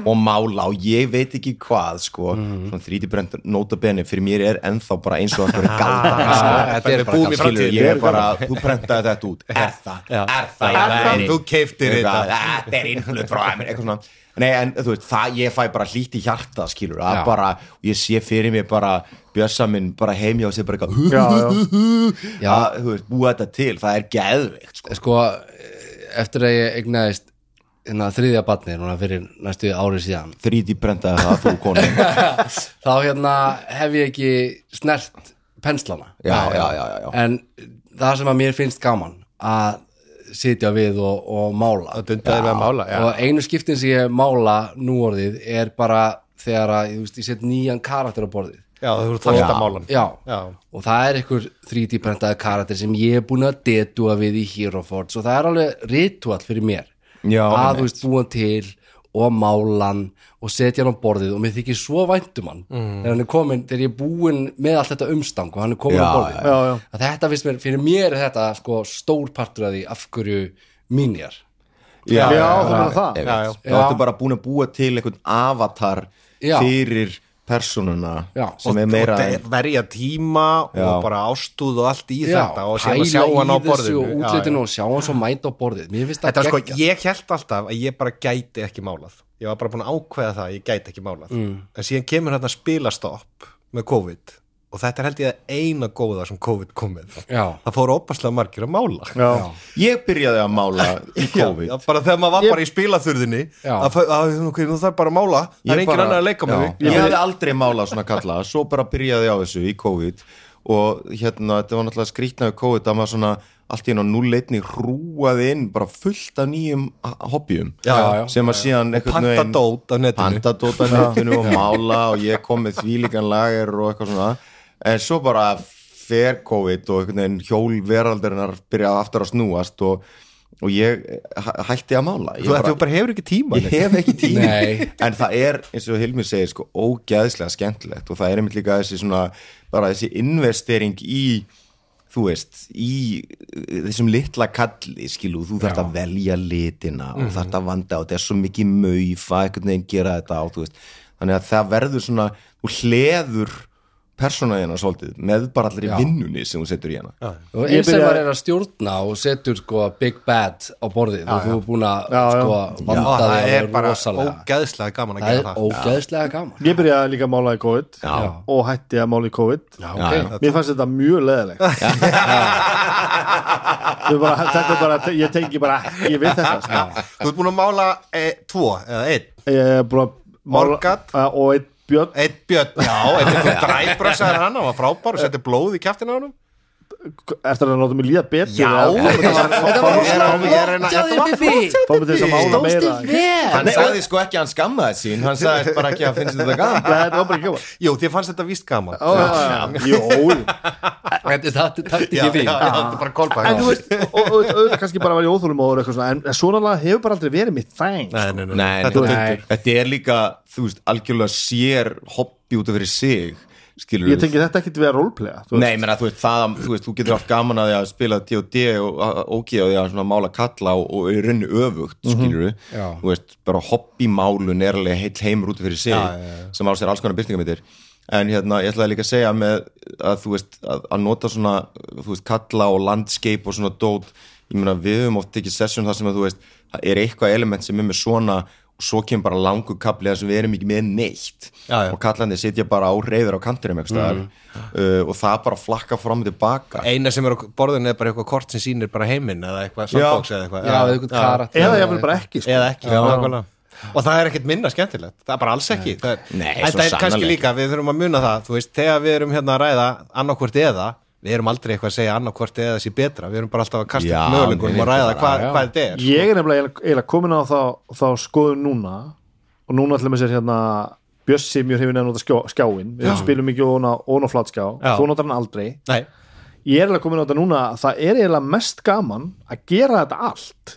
E: og mála og ég veit ekki hvað sko, mm. þrítibrenda notabene fyrir mér er ennþá bara eins og einhverju galda
F: þetta er bara
G: búum í
F: gaman.
E: skilur,
G: framtíð
E: ég er bara, þú prentaði þetta út er það, er það, er það
G: Þú keyptir
E: Eitthvað, þetta er innflutt frá Ameríku, eitthvað svona Nei, en þú veist, það, ég fæ bara hlýtt í hjarta, skilur, að
F: Já.
E: bara, og ég sé fyrir mér bara, bjössa minn bara heimja og sé bara eitthvað,
H: já, já.
F: Já.
E: að, þú veist, búa þetta til, það er geðveikt, sko.
F: sko, eftir að ég egnaðist hérna, þriðja batni núna fyrir næstu ári síðan
E: 3D prentaði það, þú konu. Já,
F: þá hérna hef ég ekki snert penslana
E: já, já, já, já.
F: en það sem að mér finnst gaman að sitja við og, og mála
G: Að dunda þér við að mála, já.
F: og einu skiptin sem ég mála nú orðið er bara þegar að ég, veist, ég set nýjan karakter á borðið
G: Já, þú eru þáttamálan
F: já.
G: Já.
F: og það er einhver 3D prentaði karakter sem ég er búin að detúa við í Hero Forge og það er alveg ritual fyrir mér
E: Já,
F: að
E: einmitt.
F: þú veist búin til og málan og setja hann á borðið og mér þykir svo væntum hann þegar hann er komin, þegar ég er búin með allt þetta umstang og hann er komin
E: Já,
F: á borðið
H: já, já.
F: Að þetta finnst mér, fyrir mér er þetta sko stór partur af því af hverju mínjar
E: Já,
H: já, þú meinar það.
E: Ég
G: Já, já.
E: veit. Þá ertu bara búin að búa til einhvern avatar
F: Já.
E: fyrir persónuna
F: Já.
E: sem er meira
G: og
E: en,
G: verja tíma
E: Já.
G: og bara ástúð og allt í þetta og sem að sjá hann á borðinu
F: og
G: Já,
F: útlitinu
G: já.
F: og sjá hann svo mæta á borðið mér finnst
G: þetta
F: það
G: er sko,
F: geggjað.
G: ég held alltaf að ég bara gæti ekki málað ég var bara búin að ákveða það að ég gæti ekki málað
F: Mm.
G: en síðan kemur hérna spilastopp með COVID og þetta er held ég að eina góða sem COVID kom með
F: Já.
G: það fóru opaslega margir að mála
H: Já.
E: ég byrjaði að mála í COVID.
G: Já, bara þegar maður var bara í spilaþurðinni
F: Já.
G: að, að, að ok, nú þarf bara að mála það er
E: Ég
G: engin
E: bara-
G: annar að leika með
E: Já.
G: því
E: Ég hafði aldrei málað svona kalla Svo bara byrjaði ég á þessu í COVID Og hérna, þetta var náttúrulega skrýtnaði COVID Það var svona allt í enn á núleitni Hrúaði inn bara fullt af nýjum a- Hobbyum
G: Já, já, já.
E: Sem að síðan einhvern
G: panta
E: veginn-
G: dót á netinu.
E: Panta dót á netinu og mála Og ég kom með þvílíkan lager og eitthvað svona En svo bara fer COVID Og einhvern veginn hjól veraldarinnar Byrjaði aftur að snúast Og, og ég hæ- hætti að mála Ég
G: þú þetta bara hefur ekki tíma
E: ég hef ekki tíma
F: Nei.
E: en það er, eins og Hilmi segir sko, ógæðslega skemmtilegt og það er einmitt líka þessi svona, bara þessi investering í þú veist, í uh, þessum litla kalli, skilu, þú þarft að velja litina og þarft að vanda og þetta er svo mikið maufa, einhvern veginn gera þetta og þú veist, þannig að það verður svona, þú hleður persónaðina svolítið, með bara allir í vinnunni sem þú setur í hana já,
F: og
H: Ég
F: eins og
H: byrja-
F: maður er að stjórna og setur sko Big Bad á borðið og þú er búin að
H: Já, já.
F: sko vanda
G: það
F: þig
G: er
F: alveg
G: bara
F: rosalega
G: ógæðslega gaman að
F: það
G: gera
F: er
G: það
F: ógeðslega gaman
H: ég byrjaði líka að mála í COVID
E: já,
H: og hætti að mála í COVID
F: já,
E: já,
F: ok.
H: Mér fannst þetta mjög leðilegt Þetta er bara, þetta er bara ég tengi bara ekki við þetta sko.
G: Þú ert búin að mála e, tvo eða einn
H: Ég er bara
G: Morgat.
H: að- og einn björn
G: Einn björn, já, einn til dræbrasaði hann, hann var frábær og setti blóð í kjæftina á hann
H: eftir að láta mig líða betur
G: Já, þetta var- þetta var rosalega flott hjá þér,
H: Fá mig til þess að mála meira
E: hann sagði sko ekki að hann skammaði sín hann sagði bara ekki að finnst þetta gaman
H: Nei, Þetta var bara ekki gaman
G: Jú, því fannst þetta víst gaman
H: Ó, já, já, já. Jó
F: þetta er- þetta er taktikið þín
G: þetta er bara callback
H: en þú veist, og- og og auðvitað kannski bara að vera í óþólum og eitthvað svona, en, en svona lag hefur bara aldrei verið mitt þæng
G: Nei, nei, nei, nei.
E: Nei,
H: Þetta
E: þetta,
H: var
E: nei. þetta er líka þú veist, algjörlega sér hobby út af fyrir sig skilur
H: ég tengi þetta ekkert við að roleplaya þú veist.
E: Nei, menna, þú, veist, það, að- þú veist, þú getur haft gaman að því að spila D&D og ógíða því að svona mála kalla og, og í raunni öfugt, skilur við
F: Já.
E: þú veist, bara hobbymálun er alveg heill heimur út fyrir sig sem á sér alls konar byrtingamítir en hérna, ég ætlaði líka að segja með að þú veist, að, að nota svona þú veist, kalla og landscape og svona dót ég meina, við höfum oft ekki session þar sem að þú veist, það er eitthvað element sem er með svona og svo kemur bara langu kapli þar sem við erum ekki með neitt
G: Já, já.
E: og kallandi sitja bara á reyður á kanturum mm. Eh, uh, og það bara flakka fram og tilbaka
G: eina sem er á borðinu er bara eitthvað kort sem sýnir bara heiminn eða eitthvað sandbox eða eitthvað
F: já, eitthvað karat
H: eða ég vil bara ekki sko.
G: eða ekki nákvæmlega. og það er ekkert minna skemmtilegt það er bara alls ekki það er,
E: Nei, svo
G: en það er kannski
E: sannarlega.
G: líka, við þurfum að muna það þú veist, þegar við erum hérna að ræða annarkvort eða við erum aldrei eitthvað að segja annarkvort eða sé betra við erum bara alltaf að kasta
E: Já,
G: upp möguleikum
E: nei,
G: og ræða
E: bara,
G: hvað,
F: já.
G: hvað þetta er
H: ég er nefnilega eiginlega- eiginlega komin á þá, þá skoðum núna og núna ætlum við sér hérna Bjössi mjög hefur nefn að nota skjó- skjáin við spilum ekki óna, óna flatskjá
G: Já.
H: þú notar hann aldrei
G: Nei,
H: ég er eiginlega komin á þetta núna að það er eiginlega mest gaman að gera þetta allt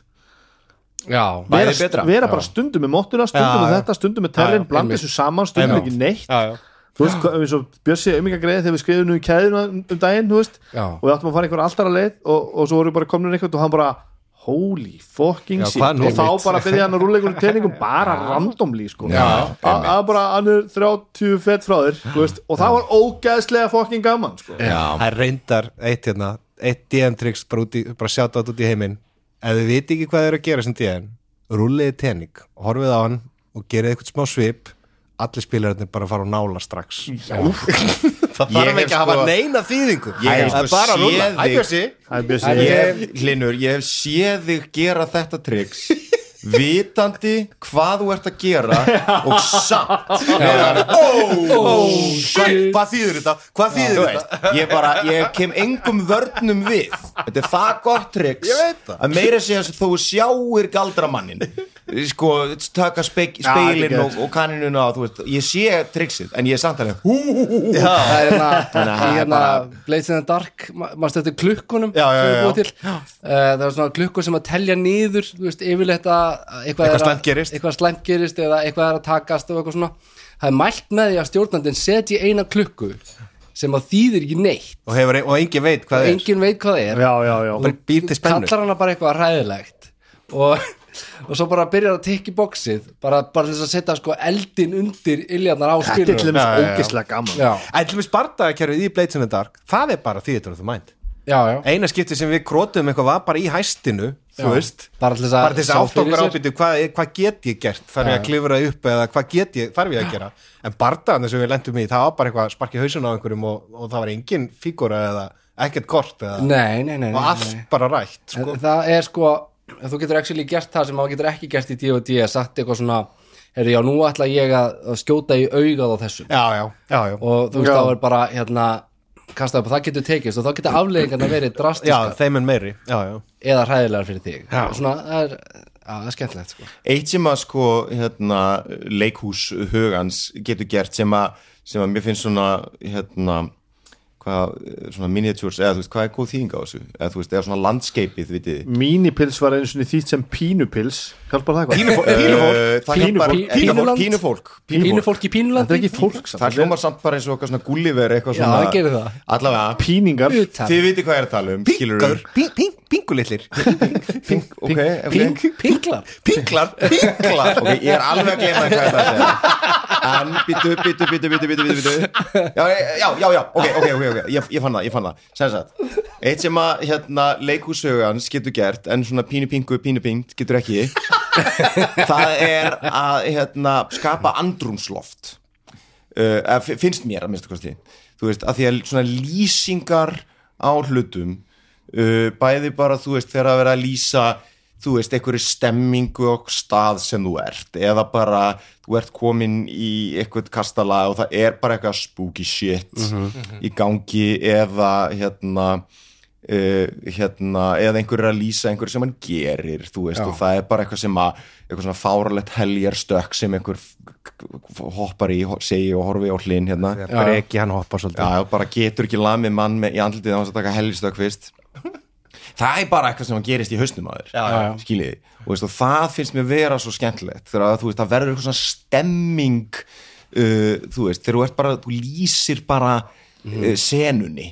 F: já,
H: vera,
E: Bæði betra.
H: vera bara stundum með móttuna stundum
G: Já,
H: með
G: já.
H: þetta, stundum með terrin
G: Já, já,
H: blanda
F: einmitt.
H: þessu saman, stundum
G: Einmitt.
H: ekki neitt
G: já, já.
H: þú veist, hvað- eins og Bjössi umingagreið þegar við skrifum nú í kæðinu um daginn, þú veist
F: Já.
H: og við áttum að fara einhver alltara leið og, og svo vorum við bara komin einhvern og hann bara holy fucking
G: Já,
H: shit
G: hvað nú?
H: og þá bara byrjaði hann að rúlega einhverjum teiningum bara randomly sko
F: Já,
H: Að- að bara hann er 30 fett frá þér þú veist, og það var ógæðslega fucking gaman sko.
G: það er reyndar eitt, hérna, eitt DM tricks bara, út í, bara sjátt átt út í heiminn ef þið viti ekki hvað þið eru að gera sem DM rúliði tening, horfið á hann og gerið eitthvað smá svip allir spilararnir bara fara á nála strax það
E: Ég
G: þarf
E: hef
G: ekki að hafa
E: sko-
G: neina þýðingu
E: Ég hef
G: það er
E: sko
G: bara að rúla
E: séð
G: Æ,
E: þig-
G: Bjössi.
H: Æ, Bjössi,
E: ég hef, Hlinur, ég hef séð þig gera þetta triks vitandi hvað þú ert að gera og samt vera, oh, oh, shit
G: hvað þýður þetta, hvað
E: Þú
G: þýður
E: veist, ég bara, ég kem engum vörnum við þetta er það gott triks að meira segja þess að þú sjáir galdramannin sko, taka spek, speilin
H: þetta er
E: og, og kaninuna og þú veist, ég sé triksið en ég er samt alveg, hú,
F: það er hérna, í
E: Þannig að það er
F: hérna
E: bara-
F: Blades in the Dark, ma- maður stöttir klukkunum
G: Já, já,
F: sem er
G: já,
F: búið til. Eh, það er svona klukkur sem að telja niður þú veist, yfirleitt að eitthvað, er að-
G: slæmt gerist.
F: eitthvað slæmt gerist eða eitthvað er að takast og eitthvað svona það er mælt með því að stjórnandinn setji eina klukku sem að þýðir ekki neitt
G: og, hefur, og engin veit hvað það er
F: enginn veit hvað það er
H: já, já, já
G: bara býr til spennu.
F: kallar hana bara eitthvað ræðilegt og, og svo bara byrjar að tikka í boxið bara, bara til þess að setja sko eldin undir iljarnar á
H: þetta er til
F: spilur
G: Já,
H: dæmis
G: já, já.
H: ógæðslega gaman
F: já,
G: ætlum við spartakerfið í Blades in the Dark það er bara þýður þú mænt
F: já, já,
G: eina skipti sem við krótum eitthvað var bara í hæstinu
F: Já.
G: þú veist
F: Bara til þess að
G: bara til þess
F: sjá
G: að átt
F: fyrir
G: okkur
F: sér.
G: ábyrtu hvað, er- hvað get ég gert þarf ég að klifra upp eða hvað get ég þarf ég að gera en bardaðan sem við lendum í það var bara eitthvað sparkið hausun á einhverjum og, og það var engin fígura eða ekkert kort eða,
F: nei, nei, nei, nei,
G: og allt
F: nei.
G: bara rætt
F: En
G: sko.
F: það er sko ef þú getur actually gert það sem maður getur ekki gert í D&D að sagt eitthvað svona herri já nú ætla ég að að skjóta í augað á þessum
G: já, já, já, já.
F: og þú veist
H: Já.
F: þá er bara hérna kastaði upp og það getur tekist og þá getur afleggingarna verið
G: já,
F: drastiskar
G: þeim en meiri já, já.
F: eða hræðilegar fyrir þig
G: Já.
F: svona það er, já, það er skemmtilegt sko.
E: eitt sem að sko hérna, leikhús hugans getur gert sem að, sem að mér finnst svona hérna hvað, svona miniatures, eða þú veist, hvað er góð þýðing á þessu eða þú veist, eða svona landskeipið, vitið þið.
H: mínipils var einu sinni þýtt sem pínupils hjálpar það
E: Pínufólk,
H: eitthvað? Eh,
E: pínufólk, Eh, það hjálpar-
H: Pínufólk.
E: Eh, pínufólk,
F: Pínuland.
E: pínufólk,
F: pínu
E: pínufólk.
F: fólk í pínulandi
H: þetta er ekki fólk samt.
E: Það hljómar samt bara eins og eitthvað svona gulliver eitthvað
F: Já,
E: svona
F: það gerir það.
E: Allavega,
H: píningar
F: utan
E: þið viti hvað ég er að tala um skilurðu.
G: Pingur, ping, ping, pingulitlir
E: Pink, ok, ok
F: Ping- pinglar
G: pinglar, pinglar
E: Ok, ég er alveg að gleyma hvað það er En býtu, býtu, býtu, býtu, býtu, býtu, býtu. Já, já, já, já, ok, ok, ok, okay. Ég, ég fann það, ég fann það Sem sagt, eitt sem að hérna, leikhúsögans getur gert En svona pínu pingu, pínu pingt getur ekki Það er að hérna, skapa andrúmsloft uh, eða fi- finnst mér að minnstu kosti þú veist, að því að svona lýsingar á hlutum uh, bæði bara, þú veist, þegar að vera að lýsa þú veist, einhverju stemmingu og stað sem þú ert eða bara, þú ert komin í eitthvað kastala og það er bara eitthvað spooky shit í gangi eða hérna eh, uh, hérna, eða einhver er að lýsa einhver sem hann gerir, þú veist, og það er bara eitthvað sem að, eitthvað svona fáralegt heljarstökk sem einhver f- f- hoppar í, ho- segi og horfi á hlinn hérna, já,
G: Breki hann hoppar svolítið
E: já, bara getur ekki lamið mann með, í andlitið á þess að taka heljarstökk fyrst það er bara eitthvað sem að gerist í hausnum að þér skiljiði, og, veist, og það finnst mér vera svo skemmtilegt, þegar að, þú veist, það verður eitthvað svona stemming uh, þú veist, þegar þú ert bara, þú lýsir bara uh, senunni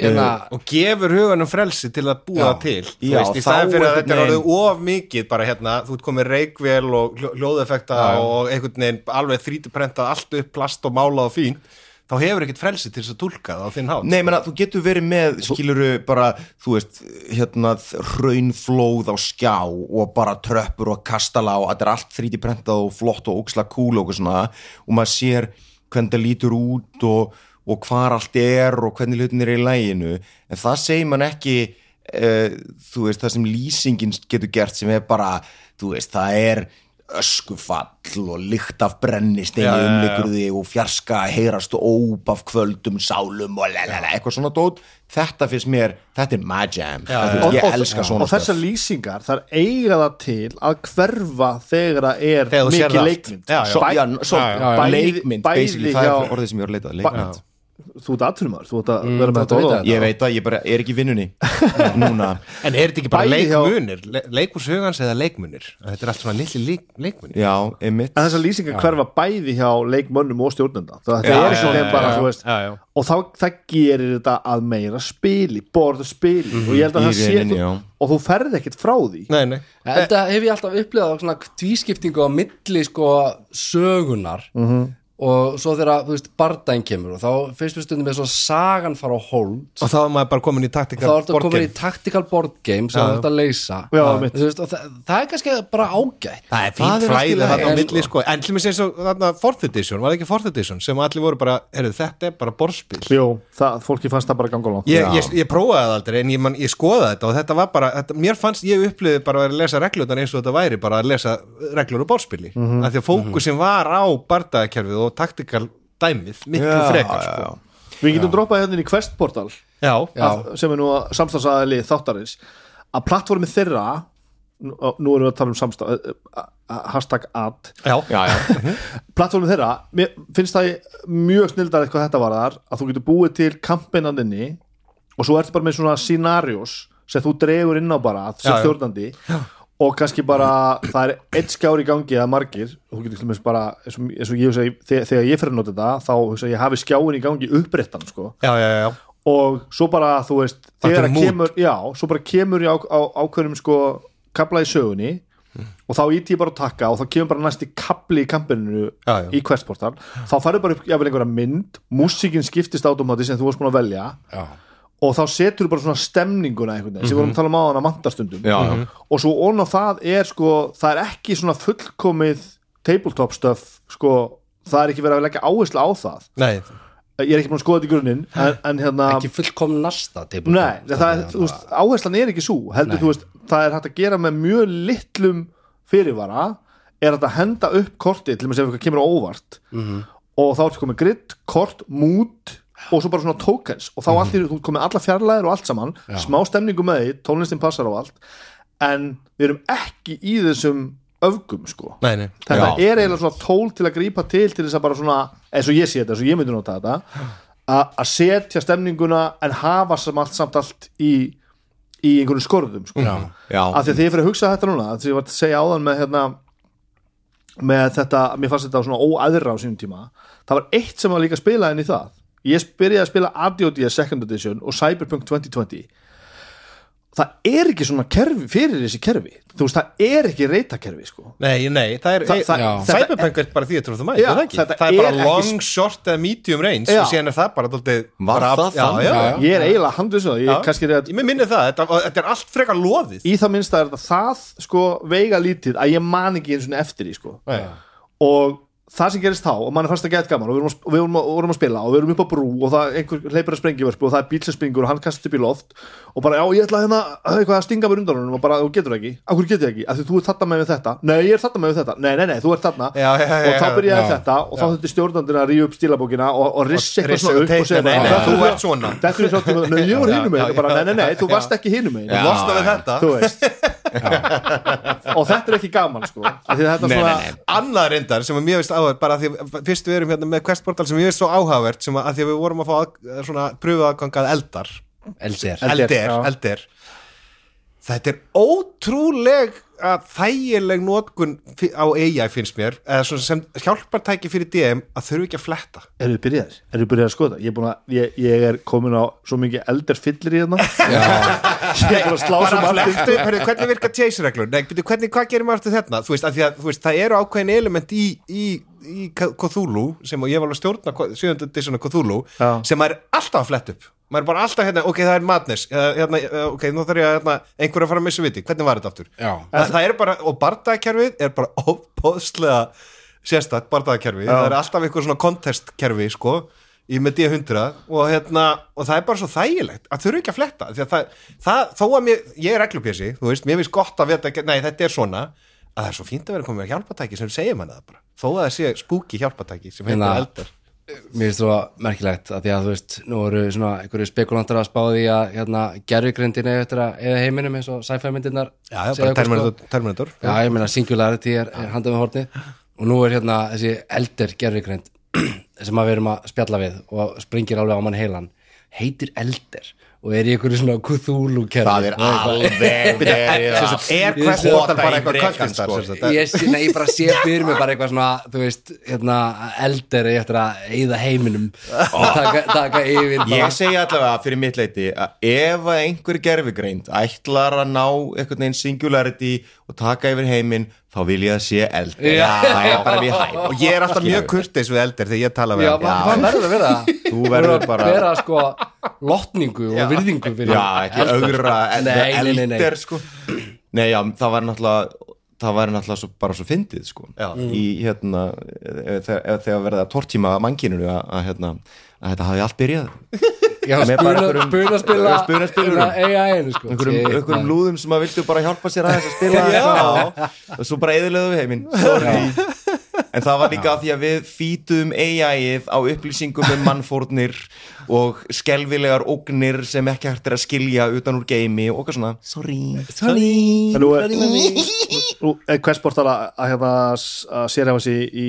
F: en að
G: og gefur huganum frelsi til að búa það til þú
E: Já,
G: veist, í
E: þá
G: staðan fyrir að
E: einhvern
G: þetta er
E: veginn-
G: orðið of mikið bara hérna, þú ert komið reikvél og hljó- hljóðeffekta og einhvern veginn alveg þrítuprentað allt upp plast og málað og fín þá hefur ekkert frelsi til þess að tólka það á þinn hátt
E: Nei, menna, þú getur verið með, skiluru bara, þú veist, hérna raunflóð á skjá og bara tröppur og kastala og þetta er allt þríti prentað og flott og óksla kúl og eitthvað svona og maður sér hvernig það lítur út og, og hvar allt er og hvernig hlutin er í læginu en það segir mann ekki uh, þú veist, það sem lýsingin getur gert sem er bara, þú veist, það er öskufall og lykt af brennisteini umlikurði og fjarska heyrast óp af kvöldum sálum og lalala, eitthvað svona dót þetta finnst mér, þetta er my jam já, já, ég elska svona
H: og þessar lýsingar þar eiga það til að hverfa þegar það er
G: Þegar þú sérð
H: mikið
G: allt.
H: leikmynd
G: Já, já.
E: svo, já, svo,
H: Bæði-
E: leikmynd,
H: bæði
E: basically, það
H: hjá-
E: er orðið sem ég er að leita að,
H: Ba-
E: leikmynd
H: þú ert aðtunumar, þú ert að vera með
F: þú ert að
H: þetta
F: vita
H: orðan.
E: ég Mm, veit að ég bara er ekki í vinnunni núna
G: en er þetta ekki bara
H: Bæði hjá-
G: leikmunir Le leikurs hugans eða leikmunir þetta er allt svona litli leik leikmunir
E: já, einmitt
H: en þessar lýsingar hverfa bæði hjá leikmönnum og stjórnenda það já, er svona bara, þú veist
G: já, já.
H: og þá, það gerir þetta að meira spili borðu spili og ég held að
E: Mhm. Í
H: það sé
E: rauninni,
H: þú,
E: já.
H: og þú ferð ekkert frá því
G: nei, nei.
F: Þetta hef ég alltaf upplegað svona tvískiptingu á milli sko sögunar
G: Mhm.
F: og svo þegar þú veist bardæn kemur og þá fyrst við stundum við svo sagan fara á hold
G: og þá er maður bara komin í
F: og þá
G: taktikar
F: er þetta komin í tactical board game sem þetta leysa
H: Já,
F: Þú
H: mitt.
F: veist, og það, það er kannski bara ágætt
G: Það er fínt
E: er allt í
G: flæði
E: lagi,
G: þarna á
F: en-
G: milli sko En til mér segir svo þarna 4th edition Var það ekki 4th edition sem allir voru bara Heyrðu þetta er bara borðspil
H: Jó, það, fólki fannst það bara ganga langt
G: ég, ég, ég prófaði það aldrei en ég, man, ég skoðaði þetta og þetta var bara, þetta, mér fannst ég upplifði bara að lesa reglutan eins og þetta væri bara að lesa reglur og bórspili mm
H: Mhm.
G: af því að fókusin var á bardaðakerfið og taktikal dæmið miklu frekar sko. já,
H: Við getum droppað hérna inn í Quest Portal
G: já.
H: að, sem er nú samstafsaðali þáttarins að plattformi þeirra nú nú erum við að tala um samstaf hashtag ad
E: já, já,
H: plattformi þeirra, mér finnst það mjög snildar eitthvað þetta var þar að þú getur búið til kampinandinni og svo ertu bara með svona scenarios sem þú dregur inn á bara sem
G: já.
H: stjórnandi og kannski bara það er eitt skjár í gangi eða margir og þú getur til dæmis bara eins og, eins og ég hugsa, þegar, þegar ég fyrir að nota þetta þá hugsa, ég, ég hafi skjáin í gangi uppréttan sko
G: já, já, já.
H: og svo bara þú veist
G: Þetta
H: þegar
G: er
H: að
G: mood.
H: kemur, já, svo bara kemur ég á, á ákveðnum sko kabla í sögunni og þá íti ég bara að takka og þá kemur bara næsti kabli í kampinu
G: Já, já.
H: í questportal þá farið bara upp jáfnvel einhverja mynd músíkin skiptist átumati sem þú varst búin að velja
F: Já.
H: og þá setur þú bara svona stemninguna einhvern veginn, sem við vorum að tala um á hana mantastundum Mhm.
E: já, já.
H: og svo ón á það er sko það er ekki svona fullkomið tabletop stuff sko það er ekki verið að leggja áherslu á það
G: Nei,
H: ég er ekki búin að skoða þetta í grunninn en, en hérna
F: ekki fullkom nasta
H: Nei, það, það, þú veist, áherslan er ekki svo heldur, þú veist, það er hægt að gera með mjög litlum fyrirvara er hægt að henda upp kortið til þess að eitthvað kemur á óvart -hmm. og þá ertu komið gritt, kort, mút og svo bara svona tokens og þá allt er, þú ert komið alla fjarlæðir og allt saman smá stemningu með því, tónlistin passar á allt en við erum ekki í þessum öfgum sko
G: nei, nei
H: þetta er eiginlega svona tól til að grípa til til þess að bara svona, eins og ég sé þetta eins og ég myndi nota þetta a- að setja stemninguna en hafa sem allt samt allt í, í einhvern skorðum sko. af
E: já.
H: því að þegar ég fyrir að hugsa þetta núna þess að ég var að segja áðan með hérna með þetta, mér fannst þetta svona óæðra á sínum tíma, það var eitt sem var líka að spila inn í það, ég byrjaði að spila ADOD Second Edition og Cyberpunk 2020 það er ekki svona kerfi fyrir þessi kerfi þú veist, það er ekki reytakerfi sko.
G: Nei, nei, það er,
H: Þa- það-
G: já.
H: þetta-
G: Cyberpunk er bara því að trúið þú mætt,
H: Já,
G: er það ekki?
H: þetta
G: Það er bara
H: er ekki-
G: long, short eða medium range
H: Já.
G: og síðan er það bara daldið
E: Var
G: bara,
E: það þannig?
G: Já, já,
F: Já,
G: já.
H: ég er eiginlega handvis ég
G: Já.
H: kannski er að
G: Ég minni það, þetta, og þetta er allt frekar loðið
H: í það minnst að það sko veiga lítið að ég man ekki eins og eftir í sko og það sem gerist þá og mann er fannst að geta gaman og við vorum, að- og við vorum, að- vorum að spila og við vorum upp á brú og það einhver hleypur að sprengjivörpu og það er bíl sem springur og hann kastast upp í loft og bara já ég ætla hérna að- eitthvað að stinga mér undan honum og bara þú getur það ekki, af hverju getur það ekki af því þú ert þarna með við þetta, nei ég er þarna með við þetta nei nei nei þú ert þarna
G: Já, já, já,
H: og þá
G: já,
H: byrjaði
G: já.
H: þetta og þá þurfti stjórnandina að ríða upp stílabókina og, og rissi eitthvað
G: rissa
H: svona
G: og
H: upp
G: teikna,
H: og segja
G: nei, nei,
H: bara,
G: þú ert svona.
H: þetta er svona, nei ég var
G: Já,
H: hinum
G: já,
H: megin Og bara,
G: já.
H: nei nei nei þú
G: Já.
H: varst ekki hinum megin
G: Þú losna við þetta
H: þú veist og þetta er ekki gaman sko af því að þetta er svona
G: Annað reyndar sem að mér finnst áhugavert bara að því að fyrst við erum hérna með Quest Portal sem mér finnst svo áhugavert sem að, að því að við vorum að fá að, svona pröfuðagangað eldar
F: Eldir
H: Eldir,
G: eldir,
H: já.
G: eldir þetta er ótrúleg að þægileg notkun fi- á AI finnst mér eða svona sem hjálpartæki fyrir DM að þurfi ekki að fletta
H: Eru þið byrjaðir? Eru þið byrjaðir að skoða? Ég er, búin að, ég, ég er komin á svo mikið eldar fyllir í hérna Ég er búin að slá sem
G: bara
H: allir
G: flektu, hvernig, hvernig virka chase reglur nei, byrju, hvernig, hvað gerir maður eftir þetta þú veist, að að, þú veist, það eru ákveðin element í, í, í Cthulhu sem og ég var alveg að stjórna sjöndandi svona Cthulhu
H: Já.
G: sem maður er alltaf að fletta upp maður er bara alltaf hérna, ok, það er madness eh, hérna, eh, ok, nú þarf ég að hérna, einhver að fara að missa viti, hvernig var þetta aftur
D: Já.
G: það, það er bara, og barndagakerfið er bara óbóðslega sérstætt barndagakerfið, það er alltaf einhver svona kontestkerfi, sko í með D100 og, hérna, og það er bara svo þægilegt að þurfa ekki að fletta því að það, það, þó að mér, ég er reglupjösi þú veist, mér finnst gott að veta, nei þetta er svona að það er svo fínt að vera komið með hjálpatæki sem segir manna það bara, þó að það sé spooky hjálpatæki sem heitir
F: Hérna.
G: eldar
F: Mér finnst það merkilegt að því að þú veist nú eru svona einhverju spekulantar að spá því að hérna gerðugrindin eða eftir að eða heiminum eins og sci-fi myndirnar
G: Já, já,
F: segja okkur,
G: bara
F: sko.
G: Terminator, Terminator.
F: Já, ég meina singularity er, er handað með horni og nú er hérna þessi eldir gerðugrind sem að við erum að spjalla við og springir alveg á mann heilan heitir eldir og er í einhverju svona Cthulhu kerfi
E: það er alveg verið
G: Sem
E: að
G: sagt, er Quest
E: pota
G: Portal bara
E: í
G: eitthvað
E: drekann,
G: kvöldvistar,
E: sko.
G: sem sagt?
F: ég, sé- nei, ég bara sé fyrir mig bara eitthvað svona, þú veist, hérna eldir eftir að eyða heiminum og taka, taka yfir bara.
E: Ég segi allavega fyrir mitt leiti að ef að einhver gerfigreind ætlar að ná einhvern veginn singularity og taka yfir heiminn þá vil ég að sé eld
F: Já.
E: það er bara við hæf
G: og ég er alltaf mjög kurtis við eldir þegar ég tala við
F: Já,
G: eldir
F: ma- maður verður að vera það
E: Þú verður bara-
F: að vera sko lotningu og virðingu fyrir
E: Já, ekki
F: eldar.
E: augra eld,
F: Nei, nei, nei, nei.
E: eldir sko Nei, já, það var náttúrulega það væri náttúrulega svo, bara svo fyndið sko
G: Já.
E: í hérna ef- ef- þegar verða að tortíma mangininu að, að, hérna, að þetta hafi allt byrjað
F: Já,
E: Með bara
F: spuna,
E: einhverjum-
F: spuna spila
E: spunaspilurum.
F: AI-inu sko
E: einhverjum,
F: Shit,
E: einhverjum
F: maður.
E: lúðum sem að vildu bara hjálpa sér aðeins að spila eitthvað á og svo bara eðurlegu við heiminn Sorry. en það var líka af því að við fýtum AI-ið á upplýsingum um mannfórnir og skelvilegar ógnir sem ekki hægt er að skilja utan úr geimi og eitthvað svona sorry, sorry.
H: Nú er, nú er Quest Portal að, að, hérna s- að sérhefa sig í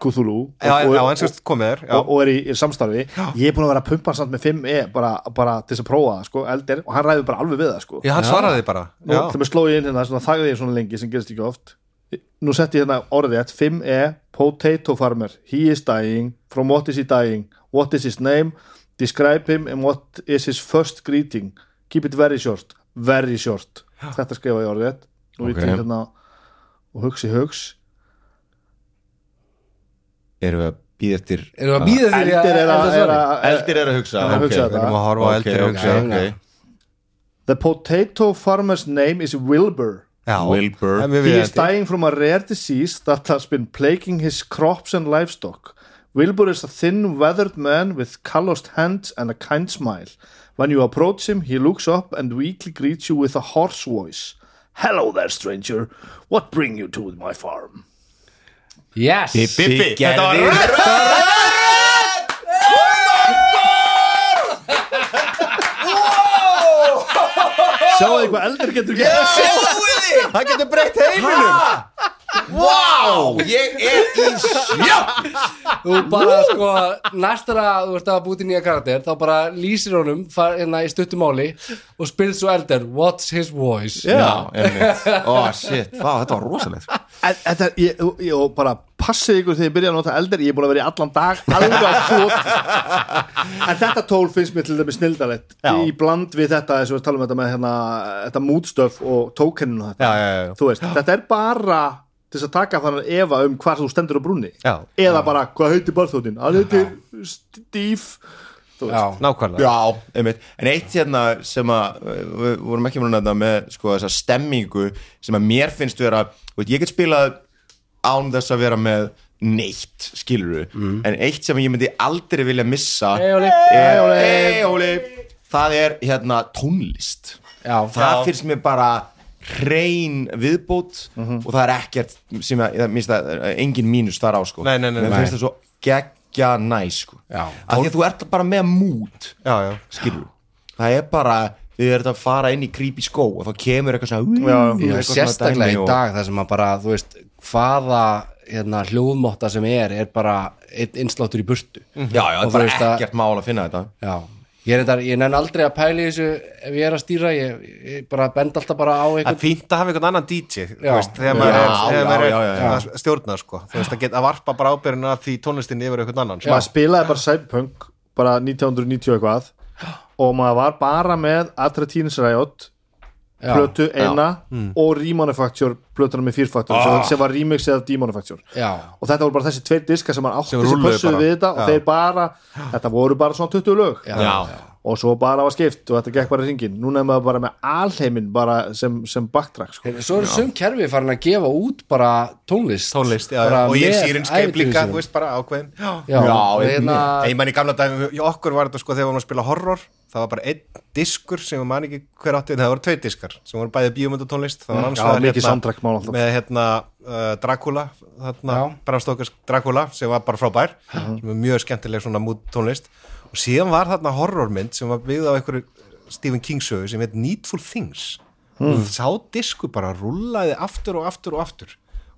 H: Cthulhu og,
G: já, já,
H: og,
G: en sem sagt, komið þér já.
H: og, og er í, í samstarfi Ég er búin að vera að pumpa hann samt með 5E bara, bara til þess að prófa það sko, eldir og hann ræður bara alveg við það sko
G: já, hann svaraði bara
H: Nú,
G: já.
H: þegar mér sló ég inn hérna, svona, þagði ég svona lengi sem gerist ekki oft Nú setti ég hérna orðið rétt 5E, potato farmer He is dying, from what is he dying What is his name, describe him And what is his first greeting Keep it very short, very short Þetta skrifa ég orðið rétt Og
E: Ok.
H: okay. ég hérna og hugsi hugs
E: erum við að býða eftir
F: Erum við að býða því
H: Eldir er að, er
F: svara?
H: að, er
E: eldir er að hugsa,
H: Hann er að hugsa
E: ok,
H: þetta.
E: við erum að horfa á
G: Ok,
E: eldir
G: ok,
E: hugsa,
F: ok.
E: ok.
H: The potato farmer's name is Wilbur
G: já.
E: Wilbur.
G: Það er mjög
H: He is
G: viðeigandi.
H: dying from a rare disease er that has been plaguing his crops and livestock. Wilbur is a thin, weathered man with calloused hands and a kind smile. When you approach him, he looks up and weakly greets you with a hoarse voice. Hello there, stranger. What bring you to my farm?
F: Yes
E: Bibbi, þetta var rætt
H: Sjáðu þið hvað eldur getur gert?
G: það getur breytt heiminum
E: Vá, ég er í
F: Þú bara sko næstara þú ert að búti nýja karakter þá bara lýsir honum far, hérna, í stuttumáli og spyrir svo eldir What's his voice?
E: Já, einmitt Ó, shit, Vá, þetta var rosalegt
H: En- Þetta, ég, ég, og bara passið ykkur þegar ég byrja að nota eldur, ég er búin að vera í allan dag alveg á fót en þetta tól finnst mér til dæmis snildalett í bland við þetta, þess að við talum um þetta með hérna, þetta mútstöf og tókeninu þetta,
G: já, já, já, já.
H: þú veist, þetta er bara til þess að taka þannig efa um hvað þú stendur á brúnni,
G: Já.
H: eða bara hvað heitir barþóttin, hann heitir Steve, þú
F: Já.
H: veist
G: nákvæmlega
E: Já, einmitt En eitt hérna sem að uh, við vorum ekki múin að nefna með sko þessa stemmingu sem að mér finnst vera, veit, ég get spilað án þess að vera með neitt, skilur en eitt sem ég myndi aldrei vilja missa hey,
F: óli.
E: er, hey, óli. það er hérna tónlist
F: Já.
E: það
F: Já.
E: finnst mér bara hrein viðbót og það er ekkert sem að, það, minnst að, engin mínus þar á sko
G: Nei, nei, nei,
E: Mér
G: nei.
E: finnst það svo geggja næ sko
F: Já.
E: af því að þú ert bara með mút
G: já, já,
E: skilur það er bara þið ert að fara inn í creepy skó og þá kemur eitthvað svona
H: Já,
E: eitthvað
F: Já,
E: svona
F: sérstaklega
E: dæmi
F: í
E: og-
F: dag þar sem að bara, þú veist, hvaða hérna, hljóðmotta sem er, er bara einn innsláttur í burtu
H: Mhm.
E: já,
F: Og
E: já, það er
F: þú
E: bara
F: veist að-
E: ekkert mál að finna þetta
F: Já, ég, reyndar, ég nenn aldrei að pæla í þessu ef ég er að stýra, ég, ég bara bend alltaf bara á
G: það er
F: einhvern
G: fínt að hafa einhvern annan DJ þú
F: Já.
G: veist, þegar maður er,
E: Já,
G: þegar maður
E: já, já,
G: er
E: já.
G: að stjórna sko. þú veist, að geta að varpa bara ábyrðinu að því tónlistinni yfir einhvern annan sko.
H: maður spilaði bara Cyberpunk bara 1990 eitthvað og maður var bara með allra tínins ræjót plötu eina og Remanufacture plötuna með Fearfactor ah. sem, sem var remix eða Demonufacture
F: Já,
H: og þetta voru bara þessi tveir diska sem
G: Sem
H: maður átti sem
G: rúlluðu
H: pössuðu
G: bara.
H: við þetta og
G: Já.
H: þeir bara, þetta voru bara svona 20 lög
F: já,
H: og svo bara var skipt og þetta gekk bara í ringin núna er maður bara með alheimin bara sem, sem backtrack sko.
F: Heyrðu, Svo eru sum kerfi farin að gefa út bara tónlist
G: tónlist, já, já.
F: Bara
G: og ég
F: með
G: sýr einskip
F: ævintýrum
G: líka
F: sínum.
G: þú veist, bara ákveðin já.
F: Já,
E: Já,
F: og hérna
G: En Ég man í gamla dagum, í okkur var þetta sko þegar við varum að spila horror, það var bara einn diskur sem ég man ekki hver átti, en það voru tvei diskar sem voru bæði bíómynd og tónlist, það var annars
H: já,
G: vegar
H: mikið soundtrackmál alltaf.
G: með hérna uh, Dracula, þarna
F: Já.
G: Bramstokers Dracula sem var bara frábær, sem er mjög skemmtileg svona mút tónlist og síðan var þarna horrormynd sem var byggð á einhverju Stephen King sögu sem heit Needful Things
H: Hmm.
G: mm. sá disku bara rúlaði aftur og aftur og aftur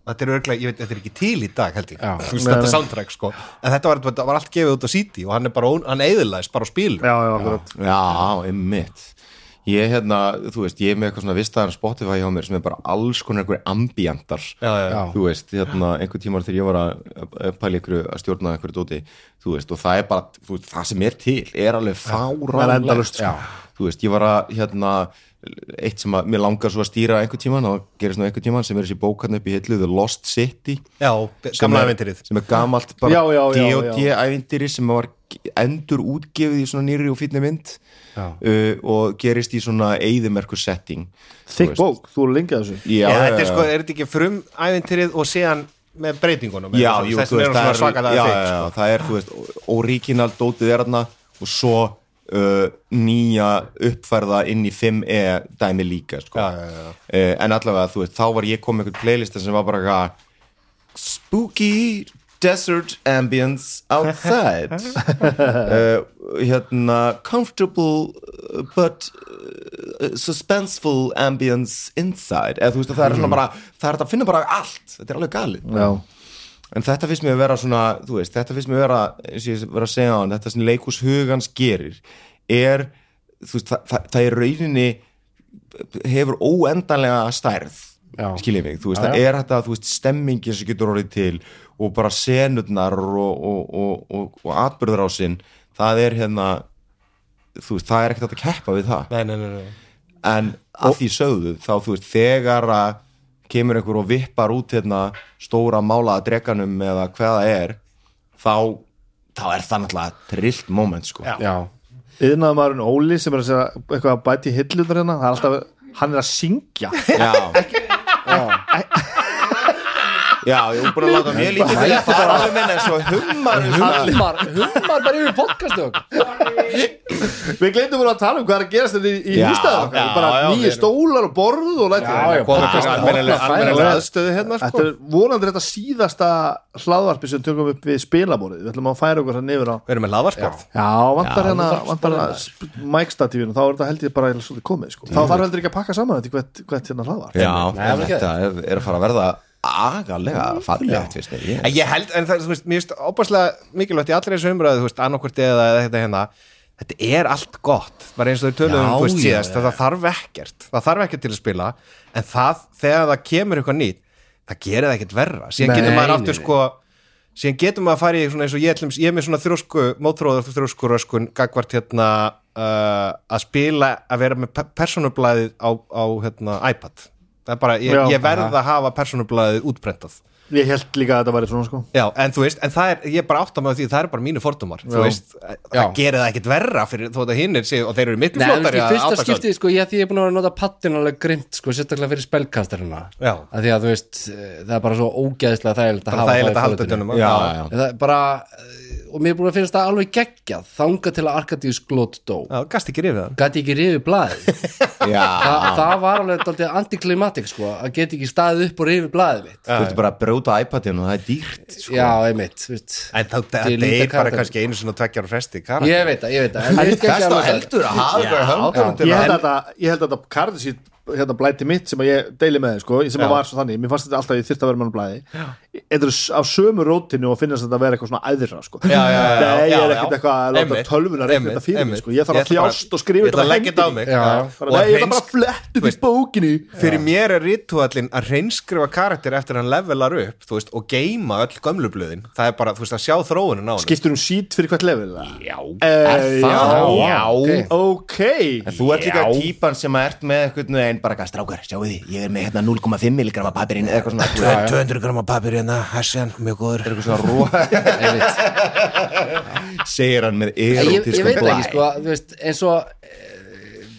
G: Og Þetta er, örglega, ég veit, þetta er ekki til í dag held ég
F: Já.
G: Þú veist, þetta soundtrack sko en þetta var, þetta var allt gefið út á City og hann er bara, ó- hann eðilaðist bara á spil
H: já, já, já.
E: Já, einmitt Ég hérna, þú veist, ég er með eitthvað svona vistaðan Spotify hjá mér sem er bara alls konar einhverju ambíandar
G: já,
F: já.
E: Þú veist, hérna, einhver tímar þegar ég var að pæla ykkur að stjórna einhverju dóti Þú veist, og það er bara, þú veist, það sem er til er alveg
H: Það er
E: fáránlegt
H: endalaust, sko.
E: Já. Þú veist, ég var að, hérna, eitt sem að, mér langar svo að stýra einhver tíman og gerist nú einhver tíman sem er þessi bókarn upp í hillu The Lost City
G: já
E: sem
G: gamla
E: er-
G: eventirið
E: sem er gamalt bara
H: Já, já, já, já.
E: D&D-ævindiri sem var endur útgefið í svona nýri og fínni mynd uh, og gerist í svona eigðimerku setting
H: þykk bók, þú eru lengið þessu
E: já,
G: Já,
E: já,
G: þetta er
E: já.
G: sko, er þetta ekki frum æventirið og síðan með breytingunum
E: já,
G: Þess-
E: jú,
G: þess
E: þú
G: vegna
E: veist,
G: er
E: það
G: það
E: er, já,
G: svakalega sko.
E: já,
G: þig
E: já, það er, þú veist, original dótið er þarna og svo uh, nýja uppfærða inn í 5E dæmi líka, sko
G: Já, já, já.
E: Uh, en allavega, þú veist, þá var ég komið einhvern playlista sem var bara eitthvað spooky desert ambience outside uh, hérna comfortable uh, but uh, suspenseful ambience inside eða þú veist að það er
G: Mm.
E: svona bara það er hægt að finna bara allt, þetta er alveg galið
H: já,
E: en þetta finnst mér að vera svona þú veist, þetta finnst mér að vera, eins og ég vera að segja á hann þetta sem leikus hugans gerir er, þú veist, það, það, það er rauninni hefur óendanlega stærð
F: Já.
E: skiljið mig, þú veist, það er þetta þú veist, stemmingin sem getur orðið til og bara senurnar og, og, og, og, og atbyrðrásinn það er hérna þú veist, það er ekkert hægt að keppa við það
G: Nei, nei, nei, nei.
E: en að því sögðu þá þú veist þegar að kemur einhver og vippar út hérna stóra málaða dreganum eða hvað það er þá, þá er það náttúrulega trillt moment sko
G: Já.
F: Já,
H: yðnaðumæðurinn Óli sem er að segja eitthvað að bæti hillunar hérna, það er alltaf hann er að syngja
E: já, já ég er búin að láta mér lítið fyrir að fara alveg minna eins og hummar hérna.
F: hummar, hummar bara yfir podcastu okkar
H: Við gleymdum bara að tala um hvað er að gerast þetta í
E: Já,
H: hústæðan okkar,
E: já,
H: bara
E: já, við
H: nýju
E: erum-
H: stólar og borð og læti
F: Já, já, podcast,
G: almennilega-
F: opna
G: almennilega
F: færa.
G: aðstöðu hérna
H: Þetta
G: sko
H: er vonandi þetta síðasta hlaðvarpi sem tökum upp við spilaborðið, við ætlum að færa okkur hann yfir á
G: Við erum með laðvarsport
H: Já, vantar hérna,
F: þú þarft
H: vantar
F: bara
H: hérna mækstatífinu, þá er þetta held ég bara eiginlega svolítið komið, sko. Þá þarf heldur ekki að pakka saman þetta í hvert, hvert hérna hlaðvarp.
E: já,
F: það er ekki.
E: þetta er, er að fara að verða agalega faglega fyrst er ég
G: En ég held, en það, þú veist, mér finnst óbærslega mikilvægt í allri þessu umræðu, þú veist, annarkvort eða eða þetta hérna, þetta er allt gott bara eins og þau tölum,
E: Já,
G: þú veist,
E: já,
G: síðast þetta þarf ekkert, það þarf ekkert til að spila en það, þegar það kemur eitthvað nýtt það gerir það ekkert verra síðan
F: Nei,
G: getur maður
F: nei,
G: aftur
F: nei.
G: sko síðan getur maður að fara í svona eins og ég, ætlum, ég er með svona þrjósku, mótróður þrjósku röskun gagvart hérna uh, að spila, að vera með pe- persónublaðið á, á hérna, iPad það er bara, ég,
H: Já.
G: ég verð að hafa persónublaðið útprentað
H: ég held líka að þetta væri svona sko
G: Já, en þú veist, en það er, ég er bara átt að með því það er bara mínu fordómar, þú veist
D: Já.
G: það gerir það ekkert verra fyrir þó að hinnir séu og þeir eru miklu
F: Nei, þú veist,
G: flottari
F: í
G: að
F: fyrsta
G: átta sig á-
F: skiptið, sko, ég, því ég er búin að vera að nota pattin alveg grimt, sko, sérstaklega fyrir spellkastarina
G: Já.
F: að því að, þú veist, eh, það er bara svo ógeðslega þægilegt að
G: bara
F: hafa það
G: það er
F: í
G: að halda
F: flotinu.
G: utanum
E: já,
G: að-
E: já,
F: En það er bara, eh, og mér er búin að finnast það alveg geggjað, þanga til að Arkadíus glót dó
G: Já, gast ekki rifið hann
F: gæti ekki rifið blaðið Þa,
E: já.
F: það var alveg daldið antiklimatik sko, að geta ekki staðið upp og rifið blaðið mitt
E: þú ertu bara að brjóta iPadin og það er dýrt sko.
F: já, einmitt þú veist.
G: En þá
F: Ég
G: þetta
F: líta
G: er bara
F: karakter.
G: kannski einu svona tveggjar og fresti
F: ég veit það, ég veit það en mér finnst
E: þess
F: geggjað
E: þá
F: að nota
E: heldur að hafa bara höndunum til
H: ég held
E: að
H: að þetta, ég held að þetta karðið síð hérna blæti mitt sem að ég deili með þér, sko sem að var svo þannig, mér fannst þetta alltaf að ég þyrfti að vera með hann blæði þetta er á sömu rótinu og finnast þetta að vera eitthvað svona æðra sko.
G: Já, já, já, já,
H: nei, ég
G: já,
H: er ekkert
G: já.
H: eitthvað að láta
G: Einmitt,
H: tölvuna reikna
G: einmitt,
H: þetta fyrir mig
G: einmitt.
H: sko. ég
G: Ég
H: þarf að
G: ætla bara-
H: þjást og skrifa
G: Ég ætla
H: með
G: að leggja þetta á
H: hendinni.
G: mig
F: Já.
H: Bara, nei, ég er bara að fletta upp í bókinu
G: fyrir mér er rituallin að reynskrifa karakter eftir að hann levelar upp þú veist, og geima öll gömlublöðin það er bara, þú veist, að sjá þróunin á hann
H: skiptur um sít fyrir hvert level eða?
G: já,
H: Eh,
E: það?
H: já,
E: Já.
H: ok
E: En þú ert líka típan sem að ert með einhvern veginn bara eitthvað strákar, sjáu því, ég er með hérna 0,5 milligrama papirin eða eitthvað svona
G: 200 grama papir hérna, hessin, mjög góður
E: eitthvað svona róa,
F: Einmitt.
E: segir hann
F: ég,
E: með
F: ég, ég
E: erotískum
F: veit
E: blæ.
F: ekki sko, þú veist, eins og eh,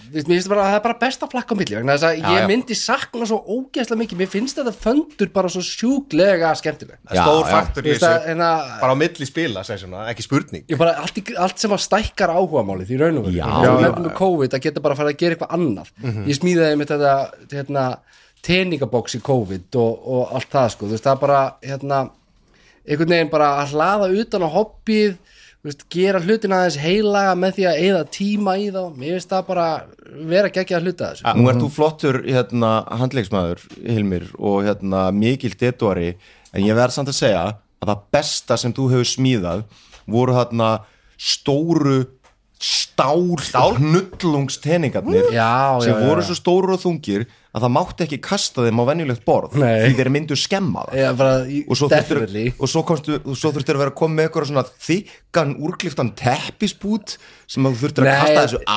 F: þú veist, mér finnst bara, það er bara besta flakk á milli vegna þess að ég
E: já.
F: myndi sakna svo ógeðslega mikið mér finnst þetta föndur bara svo sjúklega skemmtileg
E: Já,
G: stór
E: já.
G: faktur
F: Þú
G: í
F: veist að, hérna-
G: þessu,
F: en að
G: bara á milli spila segir svona, ekki spurning
F: Ég bara, allt, í- allt sem að stækkar áhugamálið í raun og veru
E: Já, Mhm.
F: og nefnum með COVID að geta bara að fara að gera eitthvað annað ég smíðaði með þetta hérna, teiningaboks í COVID og, og allt það sko, þú veist, það er bara hérna, einhvern veginn bara að hlaða utan á hobbið, þú veist, gera hlutin aðeins heilaga með því að eigða tíma í þá, mér finnst það bara vera geggjað að hluta að þessu
E: Nú ert þú flottur hérna, handleiksmaður, Hilmir og hérna, mikil detuari en ég verð samt að segja að það besta sem þú hefur smíðað voru þarna stóru stál, stál? hnullungsteningarnir
F: Já,
E: sem
F: já, já,
E: voru
F: já.
E: svo stóru og þungir að það mátti ekki kasta þeim á venjulegt borð
F: Nei.
E: því þeir myndu skemma það
F: Eða bara, í-
E: og svo þurftur
F: definitely
E: og svo, komstu, og svo þurftur að vera að koma með eitthvað svona þykkan úrkliftan teppisbút sem að þú þurftur að
F: Nei,
E: kasta þessu á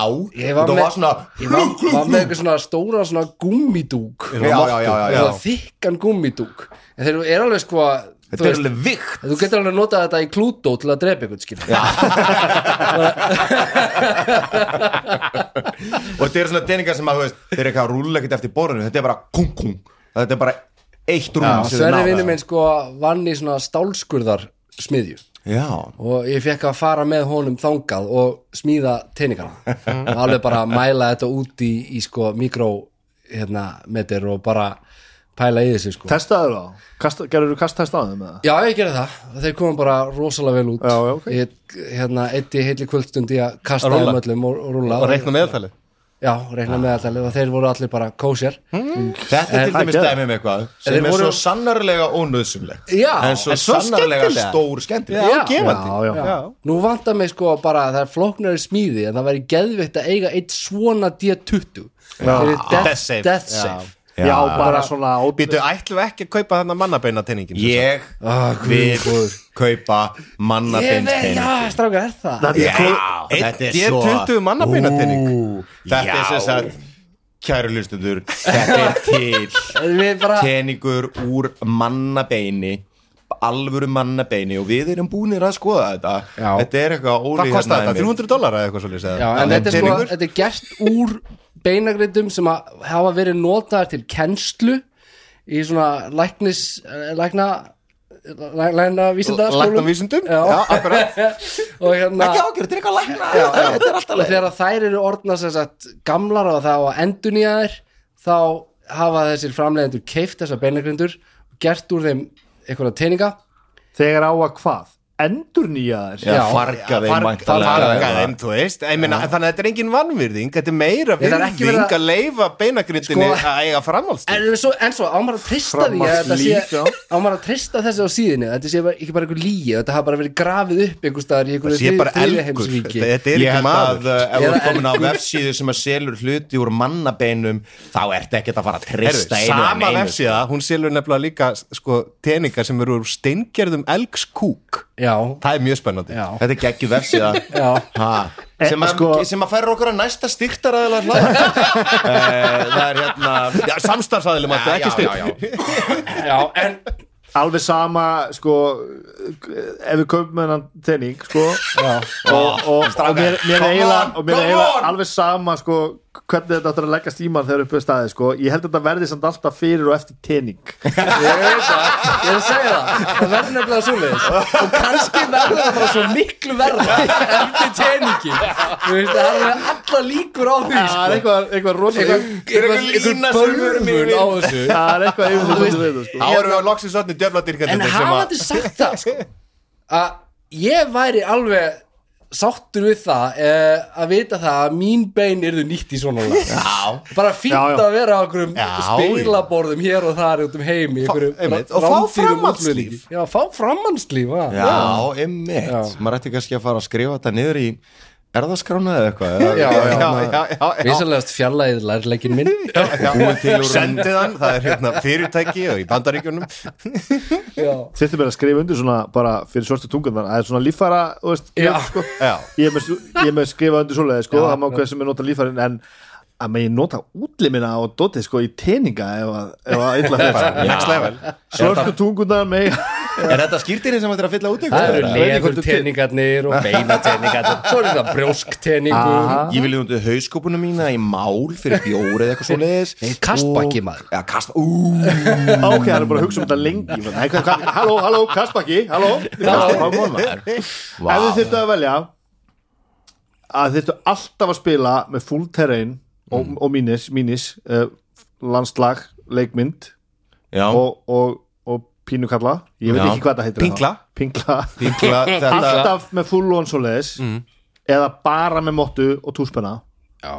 F: ég
E: og
F: var
E: það
F: með,
E: var svona
F: ég var, var með eitthvað svona stóra svona gummidúk
E: Já, já, já, já, já.
F: Svona þykkan gummidúk en þeir eru alveg sko þú
E: þetta er
F: veist,
E: alveg vikt
F: þú getur alveg notað þetta í klútó til að drepa ykkur skil já,
E: og þetta eru svona deningar sem að þú veist þeir eru eitthvað að rúla ekkert eftir borðinu þetta er bara kung kung þetta er bara eitt rúm sem þeir
F: Sverri
E: náða.
F: vinnu minn sko vann í svona stálskurðar smiðju
E: já,
F: og ég fekk að fara með honum þangað og smíða teiningana alveg bara að mæla þetta út í, í sko mikró hérna, metir og bara pæla í þessu sko
H: testaður þá, gerður þú kasttest á þeim eða?
F: Já, ég gerði það. Þeir komum bara rosalega vel út.
H: Já, já, ok.
F: Ég, hérna, eitti heilli kvöldstundi að kasta
G: Að rúlla.
F: þeim öllum og, og rúla.
G: og reikna meðaltalið
F: Já, reikna með alltaf og þeir voru allir bara kósjar.
E: þetta er
F: En-
E: til dæmis dæmi um eitthvað sem
F: þeir
E: er
F: voru-
E: svo sannarlega ónöðsumlegt
F: Já,
E: en svo,
G: en svo
E: sannarlega
G: skemmtilegt.
E: stór skemmtilegt
F: Já,
G: gefandi
H: já, já.
F: Nú vantar mig sko bara að það er flóknari smíði en það væri geðveikt að eiga eitt svona D20. Þeir eru
G: Death
F: death,
G: save.
F: death save.
H: já, bara svona
G: Býtu, ætlum við ekki að kaupa þarna mannabeina teiningin
E: ég vil kaupa
F: Ah, Ég veit,
E: mannabindstein
F: já, strákar, er það?
E: Já,
G: þetta er svo-
E: 20 manna
G: Ú,
E: beinatinning Þetta er sem sagt Kæru hlustundur, þetta er til
F: Við bara,
E: Teningur úr mannabeini Alvöru mannabeini Og við erum búinir að skoða þetta
F: Já.
E: Þetta er eitthvað
G: Hvað
E: ólíkt hérna
G: kostar þetta?
E: Emil.
G: 300 dólar eða eitthvað svolítið?
F: já, en þetta er sko, þetta er gert úr beinagreitum sem að hafa verið notaðar til kennslu í svona læknis, eh, lækna, læ- lækna vísindaskólum.
G: Læknavísindum?
F: sko- Já, akkurat. og hérna,
E: Ekki ágjörð, þetta er eitthvað lækna Þetta er alltaf
F: og þegar þær eru orðna sem sagt gamlar og þá að endunýja þær þá hafa þessir framleiðendur keift þessar beinagrindur og gert úr þeim einhverja teininga
H: þegar á að hvað, endur nýja þér
E: Já,
F: Já.
E: farga þeim
G: Farg-
E: væntanlega.
G: farga þeim, þú veist Ég meina, þannig að þetta er engin vannvirðing þetta er meira
F: Ég, það er ekki
G: virðing
F: verið að-
G: að leifa beinagrindinni
F: Sko-
G: að eiga framhaldstíð
F: en svo, en svo ámar að trista því að þetta sé ámar að trista þessi á síðinu þetta sé bara, ekki bara einhver lígi þetta hafa bara verið grafið upp einhver staðar í
G: það
F: einhverju
G: sé bara
F: þriðja
G: elgur
F: heimsríki.
G: þetta þetta er
E: Ég
G: ekki
E: held að
G: maður eh,
E: uh, ef þú
F: Eða
E: er komin á vefsíðu sem að selur hluti úr mannabeinum þá ertu ekkert að fara að
G: Heyrðu,
E: trista einu en
G: sama
E: einu.
G: vefsíða, hún selur nefnilega líka sko, teningar sem eru úr steingerðum elgskúk,
F: já,
G: það er mjög spennandi
F: já,
E: Þetta er geggjum vefsíða
F: já
E: Ha, sem, að,
H: sko-
E: sem að færa okkur að næsta styrktaraðilega hlað það er hérna
G: Já, hérna- samstarfsaðilum að þetta
E: Já,
G: ekki
E: já,
G: styrk
E: já.
F: Já, en
H: alveg sama sko, ef við köpum með hann tenning sko, og, og, og mér, mér er
E: come
H: eiginlega
E: on,
H: og mér er
E: come on.
H: eiginlega alveg sama sko, hvernig þetta áttur að leggja stíman þegar uppið staði sko. ég held að þetta verði samt alltaf fyrir og eftir tenning
F: Ég er að segja það, það verður nefnilega svo leiðis og kannski verður það bara svo miklu verða eftir teiningi Þú veist, það er alveg alla líkur á því sko.
H: það er eitthvað, eitthvað rosalega
F: eitthvað, eitthvað bölvun á þessu
H: það er eitthvað yfir þú veist við
E: þá erum við á loksins öllni
F: En
E: djöfladýrkandina sem
F: hafa
E: að
F: þetta sagt það sko, að ég væri alveg sáttur við það eh, að vita það að mín bein eru nýtt í svona lag já. bara fínt
H: Já, já.
F: að vera á einhverjum spilaborðum hér og þar út um heim í einhverjum
E: einmitt, og fá
F: rándýrum
E: framhaldslíf.
F: útflutningi. já, fá framhaldslíf já.
E: Já, ymmit, maður ætti kannski að fara að skrifa þetta niður í erðaskrána eða eitthvað eða-
F: Já, já.
E: já, já, já.
F: Vissalegast fjarlæðið lærleikin minn
E: Búið til úr honum-
G: sendið hann, það er hérna fyrirtæki og í bandaríkjunum
F: Já.
H: Þetta er bara að skrifa undir svona bara fyrir svörstu tungan þannig að það er svona líffara þú veist,
F: Já.
H: ljóð, sko. ég, er með, ég er með að skrifa undir svoleiði sko, það má hvað sem er nota líffarin en að með ég nota útlimina og dotið sko í teninga ef að, ef að illa fyrir
G: next level
H: svörstu tungunar með
E: Er þetta skýrtinni sem ættir að fylla út
F: Það eru
E: eitthvað?
F: leðurteningarnir og beinateningarnir Svo er þetta brjóskteningur
E: Ég vil undir hauskópuna mína í mál fyrir bjóri eða eitthvað svo leiðis
F: Nei, kastbakki, maður.
E: Já, kastbakki, ú
H: ok, það er bara að hugsa um þetta lengi Nei, hvað- hvað- halló, halló, kastbakki, halló ef þið
E: Vá.
H: þyrftu að velja að þyrftu alltaf að spila með full terrain og,
F: Mm.
H: og mínis, mínis uh, landslag, leikmynd
E: Já,
H: og, og, og pínukalla ég veit
E: Já.
H: ekki hvað það heitir
G: Pingla.
H: þá. Pingla.
E: píkla þetta
H: alltaf með full on svoleiðis
E: Mm.
H: eða bara með mottu og túspenna
F: Já,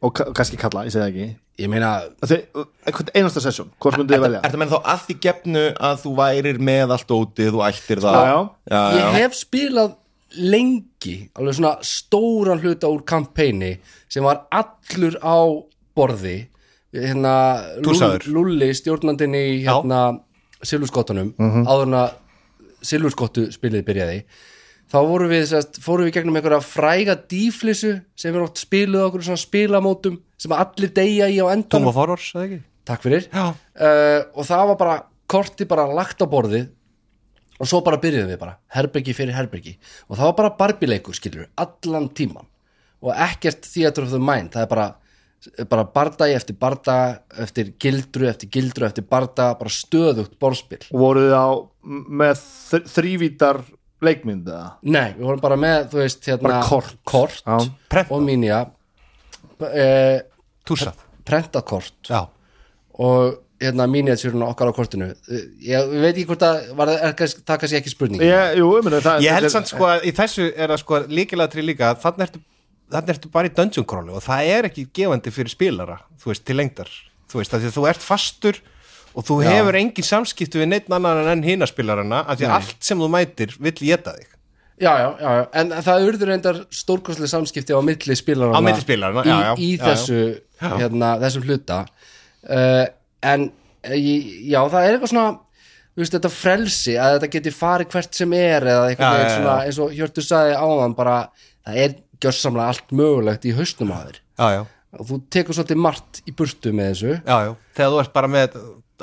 H: og ka- kannski kalla, ég segi það ekki
F: ég meina
H: Þegar, einhvern einasta session, hvort myndið þið velja
E: Er það menn þá að því gefnu að þú værir með allt ótið, þú ættir það
H: Já, já.
E: já,
F: ég hef spilað lengi alveg svona stóran hluta úr kampæni sem var allur á borði hérna
G: Tússaður.
F: Lúll- Lulli stjórnandinn í hérna silfurskottunum
E: Mhm.
F: áður en að silfurskottu spilið byrjaði þá vorum við, sérst, fórum við gegnum einhverja fræga dýflissu sem er oft spiluð á okkur svona spilamótum sem allir deyja í á endanum
G: Tóma Forors, eða ekki?
F: takk fyrir
G: Já.
F: Eh, og það var bara korti bara lagt á borðið og svo bara byrjuðum við bara herbyggi fyrir herbyggi og það var bara barbileikur skilur allan tíman og ekkert theater of the mind það er bara, bara bardagi eftir barda eftir gildru, eftir gildru, eftir barda bara stöðugt borðspil
H: og voruð þið á með þr- þrívítar leikmynd eða?
F: Nei, við vorum bara með, þú veist, hérna
H: Bara kort.
F: kort
H: Já.
F: og mínja eh,
G: Túsað
F: prentað kort
G: Já,
F: og hérna miniatúruna okkar á kortinu Eh, ég veit ekki hvort að var, það- er, kannski- það kannski ekki spurning
H: Ég, jú, ég, meina, það,
G: ég
H: þetta
G: held
H: er-
G: samt sko að í þessu er það sko líkilega trí líka að þannig ertu, þannig ertu bara í dungeon crawli og það er ekki gefandi fyrir spilara, þú veist, til lengdar þú veist, af því að þú ert fastur og þú hefur engin samskiptu við neitt annan en hina spilarana, af því að allt sem þú mætir vill geta þig
F: já, já, já, já, en það urður reyndar stórkostlega samskipti á milli spilarana
G: Á milli spilaranna,
F: í,
G: já, já,
F: í
G: já, já.
F: þessu, Hérna, þessum hluta uh, en eh, ég- já, það er eitthvað svona þú veist, þetta frelsi að þetta geti farið hvert sem er eða eitthvað
G: Já,
F: veginn
G: já,
F: svona, eins og Hjörtur sagði áðan bara, það er gjörsamlega allt mögulegt í hausnum á þér
G: Já, já,
F: og þú tekur svolítið margt í burtu með þessu
G: já, já, þegar þú ert bara með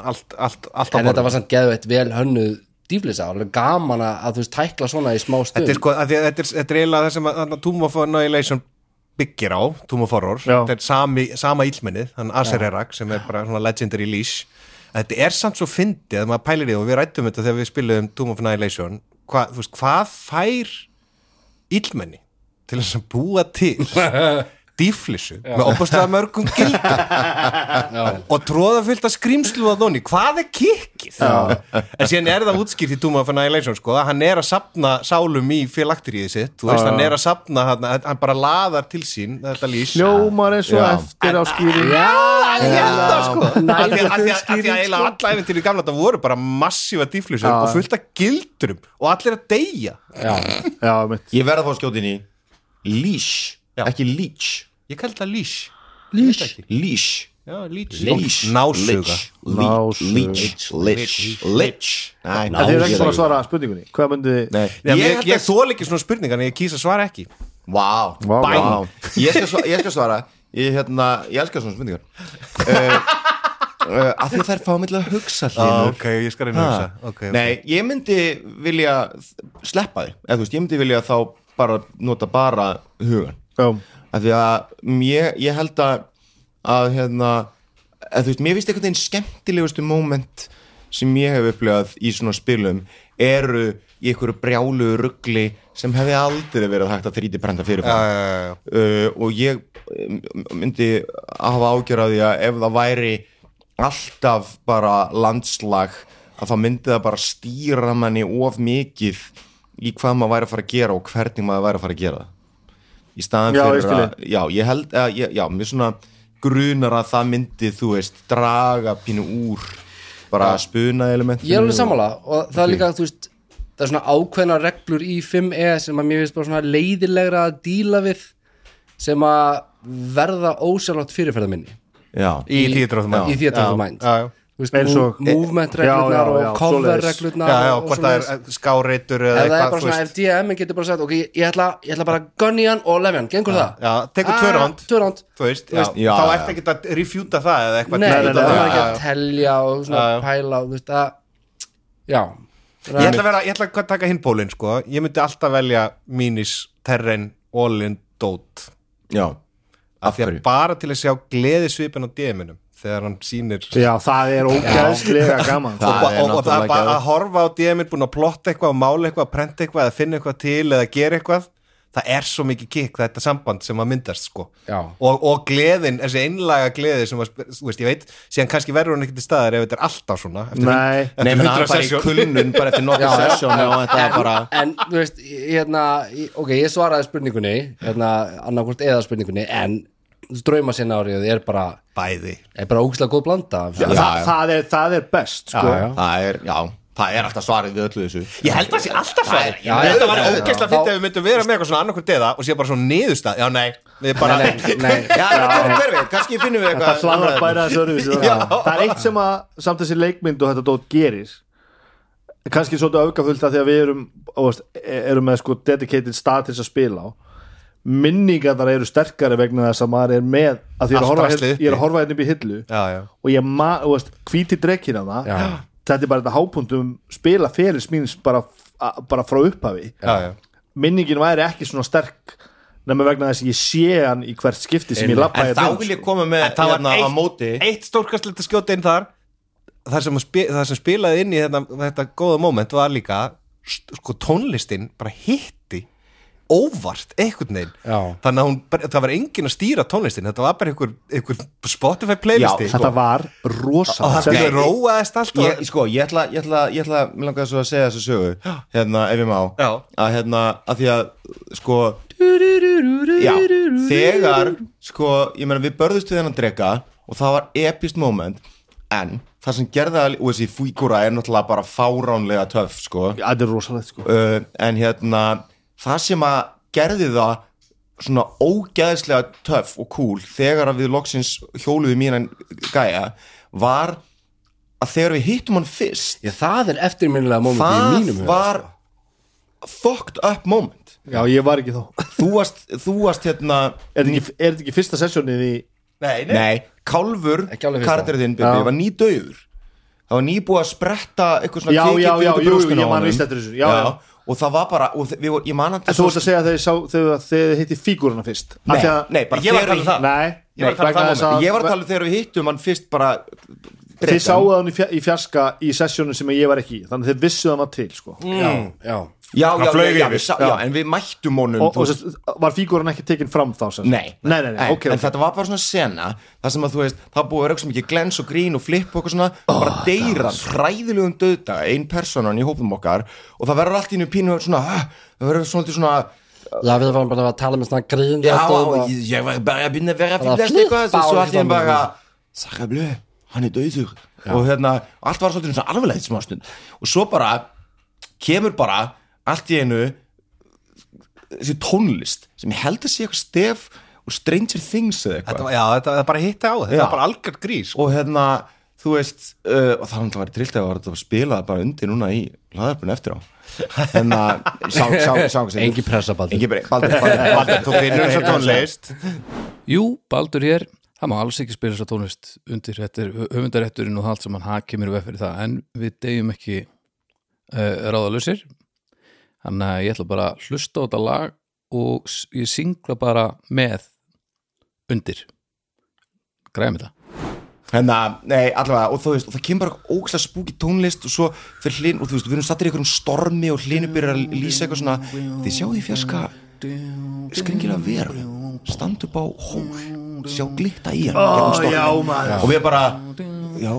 G: allt, allt, allt á
F: en þetta
G: borðinu.
F: var samt geðveitt vel hönnuð dýflisa, alveg gaman að að þú veist tækla svona í smá stund
G: Þetta er sko, af því að þetta er, þetta er eiginlega það sem að þarna Tomb of Annihilation byggir á, Tomb of Horror,
H: Já.
G: þetta er sami, sama ílmennið, hann Acer Erak sem er bara svona legendary leash Þetta er samt svo fyndið að maður pælir í því og við rættum þetta þegar við spilum Tomb of Annihilation Hva, þú veist, hvað fær ílmenni til þess að búa til dýflissu með opaslega mörgum gildum og tróða fullt að skrýmslu að dóni, hvað er kikkið en síðan er það útskýrt í Dúma of Annihilation sko, að hann er að sapna sálum í félakteríði sitt, þú veist, hann er að sapna hann, hann bara laðar til sín þetta lýs
H: hljómar eins og
E: Já.
H: eftir á skýring
G: Að ég held það, sko.
F: Nægur
G: Af því að- af því að- af því
E: sko.
F: skýring,
G: að eiginlega alla æfintir í gamla þetta voru bara massífa dýflisur og fullt af gildrum og allir að deyja
H: já, mitt
E: Ég verð að fá skjótin í Leash, ekki leech
G: ég kalli það lýs
E: Leash Leash Leash
G: násuga
E: Leash
H: Násuga.
E: Leash Leash Leash Nei,
H: En þið er ekki
E: násuga.
H: svona að svara spurningunni Hvað myndið þið?
E: Nei,
G: Ég,
E: ég
G: ég,
E: held
G: ég
E: að
G: þól ekki svona spurningar en ég kýsa svara ekki
E: Vá,
H: Vá,
E: bæn
H: vá.
E: Ég skal svara, ég, skal svara. Ég, hérna, ég elskar svona spurningar uh, uh, af því að þær fá mig til að hugsa
G: Ah,
E: hlýnur
G: ok, ég skal reyna að hugsa
E: Ha.
G: okay, ok.
E: Nei, ég myndi vilja sleppa því, eða þú veist, ég myndi vilja þá bara nota bara hugan
H: Já,
E: af því að mér, ég held að að hérna að þú veist, mér finnst einhvern veginn skemmtilegustu moment sem ég hef upplifað í svona spilum eru í einhverju brjálu ruggli sem hefði aldrei verið hægt að 3D brenda fyrirfæð
G: Já, já, já.
E: uh, og ég um, myndi hafa ágjör af því að ef það væri alltaf bara landslag að þá myndi það bara stýra manni of mikið í hvað maður væri að fara að gera og hvernig maður væri að fara að gera það í staðan
H: Já, ég
E: fyrir
H: skil
E: að já, ég held að, ég, já, mér svona grunar að það myndi, þú veist, draga pínu úr bara spuna elementin
F: ég er alveg sammála og það er líka, þú veist það er svona ákveðna reglur í 5E sem að mér finnst bara svona leiðilegra að díla við sem að verða ósjálfátt fyrirferða minni
E: já,
G: Í Theatre of the Mind
F: í Theatre of the
G: Já,
F: Mind.
G: já, já.
F: Þú veist,
H: Eins og-
F: mov- movement reglunar
H: Já, já, já,
F: og cover
H: svoleiðis.
F: reglunar
G: Já, já,
F: og
G: hvort það
F: svoleiðis.
G: er skáreitur
F: Ef
G: eða
F: það er
G: eitthvað,
F: bara svona, ef DM getur bara sagt ok, ég, ég, ætla, ég ætla bara að gunni hann og lefja hann, gengur það? Ah,
G: já, tekur tvö round.
F: Tvö ránd
G: þú veist,
F: Þú veist,
G: já,
E: já,
G: þá
E: já.
G: ert ekki að refjúta það eða
F: Nei,
G: eitthvað
F: það
G: Nei,
F: er
G: já,
F: ekki
G: já,
F: að
G: já.
F: telja og svona
G: Já, já.
F: pæla og þú veist að já
G: Ég ætla að vera, ég ætla að taka hinn pólinn sko Ég myndi alltaf velja minis, terren, all-in, dót
E: já
G: Af því að
E: hverju?
G: bara til að sjá gleðisvipin á DM-inum Þegar hann sýnir
H: já það er ógæðslega gaman
E: Það
G: og,
E: er
G: og, og það
E: náttúrulega
G: er bara
E: geðveikt.
G: að horfa á DM-in búin að plotta eitthvað, mála eitthvað, prenta eitthvað eða finna eitthvað til eða gera eitthvað það er svo mikið kikk þetta samband sem að myndast sko
F: Já.
G: og, og gleðin, þessi einlaga gleði sem að, sp- þú veist, ég veit, síðan kannski verður hann ekki til staðar ef þetta er alltaf svona eftir,
H: Nei.
G: eftir
E: Nei, menn hann
G: 100
E: bara í
G: session.
E: kulnun bara eftir nokkuð sessjón og þetta er bara
F: en þú veist, ég- hérna ég- ok, ég svaraði spurningunni hérna, annarkvort eða spurningunni en drauma sinna árið er bara
G: bæði
F: er bara ógislega góð blanda af-
H: Þa,
E: Já, já.
H: það, er, það er best sko.
F: já.
E: það er, já, það er alltaf svarið við öllu þessu
G: Ég held að það sé alltaf svar
F: já,
G: Þetta
F: já, já,
G: var
F: já.
G: auðvitað fyrir ef við myndum vera með eitthvað svona annarkur deða og sé bara svona niðurstað Já, nei, við bara
F: Nei, nei, nei.
E: Já, hver- hver veit, kannski finnum við
H: það
E: eitthvað
H: hlaðar bæra þessu öðruvísi sko.
E: Já.
H: það er eitt sem að samt þessi leikmynd og þetta dót gerir kannski svolítið öfgafullt að því að við erum þú veist, erum með sko dedicated stað til þess að spila á minningarnar eru sterkari vegna þess að maður er með að því
G: Allt
H: ég er að horfa,
G: draslið
H: hér-
G: uppi.
H: ég er að horfa hérna upp í hillu
G: Já, já.
H: og ég ma, þú veist, hvíti drekkina það þetta er bara þetta hápunktum spila fyrir smíns bara, a- bara frá upphafi
G: Já, já.
H: minningin væri ekki svona sterk nema vegna þess að ég sé hann í hvert skipti sem ég lappa
E: En þá vil ég koma með
G: En það var
E: hérna á
G: eitt,
E: móti
G: eitt stórkastlegt að skjóta inn þar það sem, að spi, það sem spilaði inn í þetta, þetta góða moment var líka st- sko tónlistin bara hitti óvart einhvern veginn
F: Já.
G: þannig að hún, bara- það var enginn að stýra tónlistin þetta var bara einhver, einhver Spotify
E: Já,
G: playlisti sko.
H: þetta var rosa
G: og það
H: Sem-
G: fyrir róaðist allt
E: ég,
G: og,
E: Sko, ég ætla, ég ætla, ég ætla Mér langar svo að segja þessu sögu Hérna, ef ég má
G: Já.
E: Að hérna, að því að, sko Já, þegar Sko, ég meina, við börðust við hennan drega Og það var epist moment En, það sem gerði það Og þessi fígúra er náttúrulega bara fáránlega töff, sko
H: Já, þetta er rosalegt sko
E: uh, en hérna það sem að gerði það svona ógæðislega töff og cool þegar að við loksins hjóluðu mínan gæja var að þegar við hittum hann fyrst
F: Já, það er eftirminnilega móment í
E: það
F: mínum huga,
E: var
H: sko.
E: fucked up moment
H: já ég var ekki þá
E: þú varst, þú varst hérna
H: er þetta ekki, er þetta ekki fyrsta sessjónið í
G: nei, nei.
E: nei, Kálfur,
F: Ekki alveg fyrst
E: karakterðinn Bibi,
H: Já.
E: var nýdauður það var nýbúið að spretta eitthvað svona
H: Já,
E: kikið
H: já,
E: upp
H: já,
E: undir
H: jú,
E: brjóstinu
H: ég
E: á
H: man
E: honum.
H: víst eftir þessu, já, já.
E: og það var bara og þe- við, vorum- ég man að
H: en þú vorst að segja þegar ég sá þegar þið hitti fíguruna fyrst Af
E: Nei,
H: því að-
E: nei, bara
G: Ég var að
E: þegar
G: tala um
E: við-
G: það.
H: nei,
G: Ég var að tala um
H: vegna
G: það
H: þess
G: moment.
E: Ég var að tala um þegar við hittum hann fyrst bara
H: þið sáuð hann í fja- í fjarska í sessjónu sem ég var ekki í, þannig að þið vissuð hann að til sko.
E: Mm.
F: já, já.
E: Já, já,
G: Hann flaug
E: já,
G: yfir.
E: við sá, já, en við mættum honum
H: og,
E: þú
H: og
E: veist.
H: þess, var fígurinn ekki tekinn fram þá sem sagt?
E: Nei,
H: nei, nei, nei, ok,
E: en
H: okay.
E: þetta var bara svona sena Það sem að þú veist, það búið að vera eitthvað mikið glens og grín og flip og eitthvað svona oh, bara deyran, hræðilegum döðdaga, ein personan í hópum okkar og það verður allt í nú pínu svona, ah, það verður svolítið svona
F: Já, við varum bara að tala með svona grín
E: Já,
F: þetta og-
E: ég, ég var bara að byrja að vera að
F: Bara
E: fyllast
F: flippa
E: eitthvað og
F: og
E: svo allt í enn
F: svona.
E: bara Sarah Blö, hann er döður og hérna, allt var svolítið svona alvarlegt smástund og svo bara kemur bara allt í einu þessi tónlist sem ég held að sé eitthvað stef og Stranger Things eða
G: Þetta,
E: eitthvað
G: var- já, þetta það bara hitti á þetta
E: Já.
G: var bara algjörn grís sko.
E: og hérna, þú veist uh, og það var náttúrulega trillt að var þetta að spila það bara undir núna í hlaðarpunni eftir á en að sá, sá, sá, sá,
F: Engin pressa, Baldur.
E: Engin pressa, Baldur, Baldur, Baldur,
G: Þú finnur þess að tónlist
I: Jú, Baldur hér. það má alls ekki spila þessa tónlist undir þetta er höfundarétturinn og það allt sem hann haki mér veð fyrir það en við deyjum ekki uh, ráðalösir þannig að ég ætla bara að hlusta á þetta lag og s- ég syngla bara með undir græmi þetta
E: Hennar, Hérna, nei, allavega, og þú veist, og það kemur bara ógæslega spúki tónlist og svo fyrir hlinn, og þú veist, við erum sattir í einhverjum stormi og hlinu byrjar að lýsa eitthvað svona þið sjáu því fjarska skringilega veru, standa upp á hól, sjá glitta í hann
H: Ó,
E: gegnum storminn.
H: já, maður.
E: og við bara, já,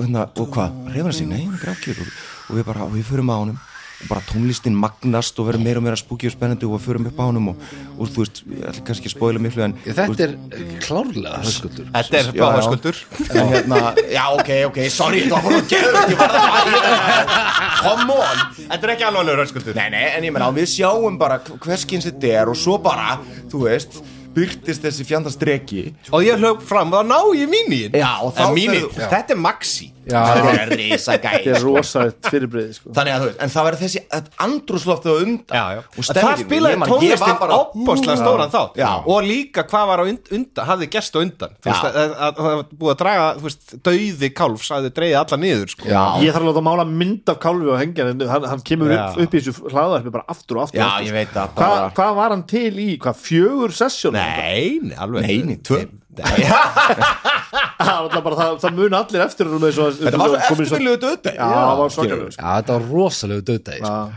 E: hérna, og hvað reyfur hann sig, nei, hann grafkir og, og við bara, og við förum að honum og bara tónlistin magnast og verður meira og meira spúki og spennandi og við förum upp á honum og, og þú veist, ég ætla kannski ekki að spóila miklu en þú
I: þetta
E: veist,
I: er klárlega höskuldur
G: Þetta er
E: Já, já.
G: báðaskuldur
E: en hérna, já ok, ok, sorry þetta var bara geður, ég var það að fara come on,
G: Þetta er ekki alvarlegur höskuldur
E: nei nei, en ég menna við sjáum bara hverskins þetta er og svo bara, þú veist byrtist þessi fjandans dregi
G: Og ég hlöp fram og þá ná ég mínín
E: Já, og þá ferðu- Já.
G: Þetta er maxi
E: það er risa gæð
H: þetta er rosalegt fyrirbreyði sko.
E: þannig að þú veist, en það verður þessi andrasloft á undan
G: já, já.
E: og
G: það
E: stemmingin,
G: spilaði
E: ég man- ég
G: tónlistin
E: var
G: bara
E: bara- Mm.
G: opbáslega stóran þátt
E: Já.
G: og líka hvað var á undan, undan hafði gest á undan þú
E: Já.
G: veist, að- að- að- það var búið að draga þú veist, dauði kálfs hafði dreigið alla niður sko.
E: já,
H: ég þarf að láta mála mynd af kálfi og hengja hann, hann, hann kemur upp,
G: Já.
H: upp í þessu hlaðarpi bara aftur og aftur,
E: já,
H: og aftur
E: ég veit það
H: Hva,
E: bara-
H: hvað var hann til í, hvað, fjögur sessjón
G: nei, nei, alveg
E: Nei, nei, tvö.
G: Nei,
H: það, bara, það, það mun allir eftir honum eins og-
E: þetta var svo
H: komið svo-
E: eftirvilluðu döðdeg
H: já, það var svakar
I: já, þetta var rosalegu döðdegi sko.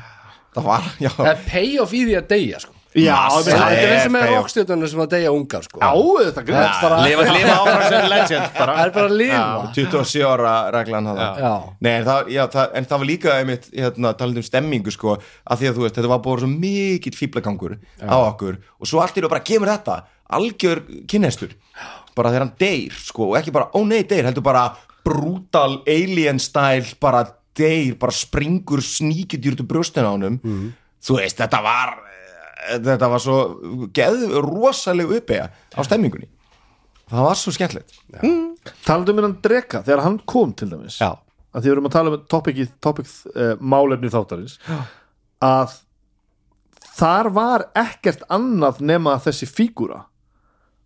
E: það var, já
I: það er payoff í því að deyja sko.
H: já,
E: Massa.
H: menn,
E: Það
I: þetta er
E: er
I: eins og með
E: payoff.
I: rockstjórnarnir sem að deyja ungar sko.
H: já, þetta grunns bara
G: lifa, lifa áfram sem legend bara
I: það er bara að lifa
E: 27 ára reglan það
I: Já.
E: Nei, en, það, já, það, en það var líka einmitt, hérna, talandi um stemmingu sko, að því að þú veist, þetta var búið svo mikill fýblagangur á okkur og svo allt í og bara kemur þetta, algjör kynnestur, bara þegar hann deyr sko, og ekki bara, ó nei, deyr, heldur bara brutal alien style bara deyr, bara springur sníkidjúrt um brjóstin á honum þú veist, þetta var þetta var svo geð, rosaleg uppega á stemmingunni það var svo skemmtilegt
H: talandum um hann dreka, þegar hann kom til dæmis
G: Já.
H: að því við erum að tala um topic, í- topic uh, málefni þáttarins já. að þar var ekkert annað nema þessi fígúra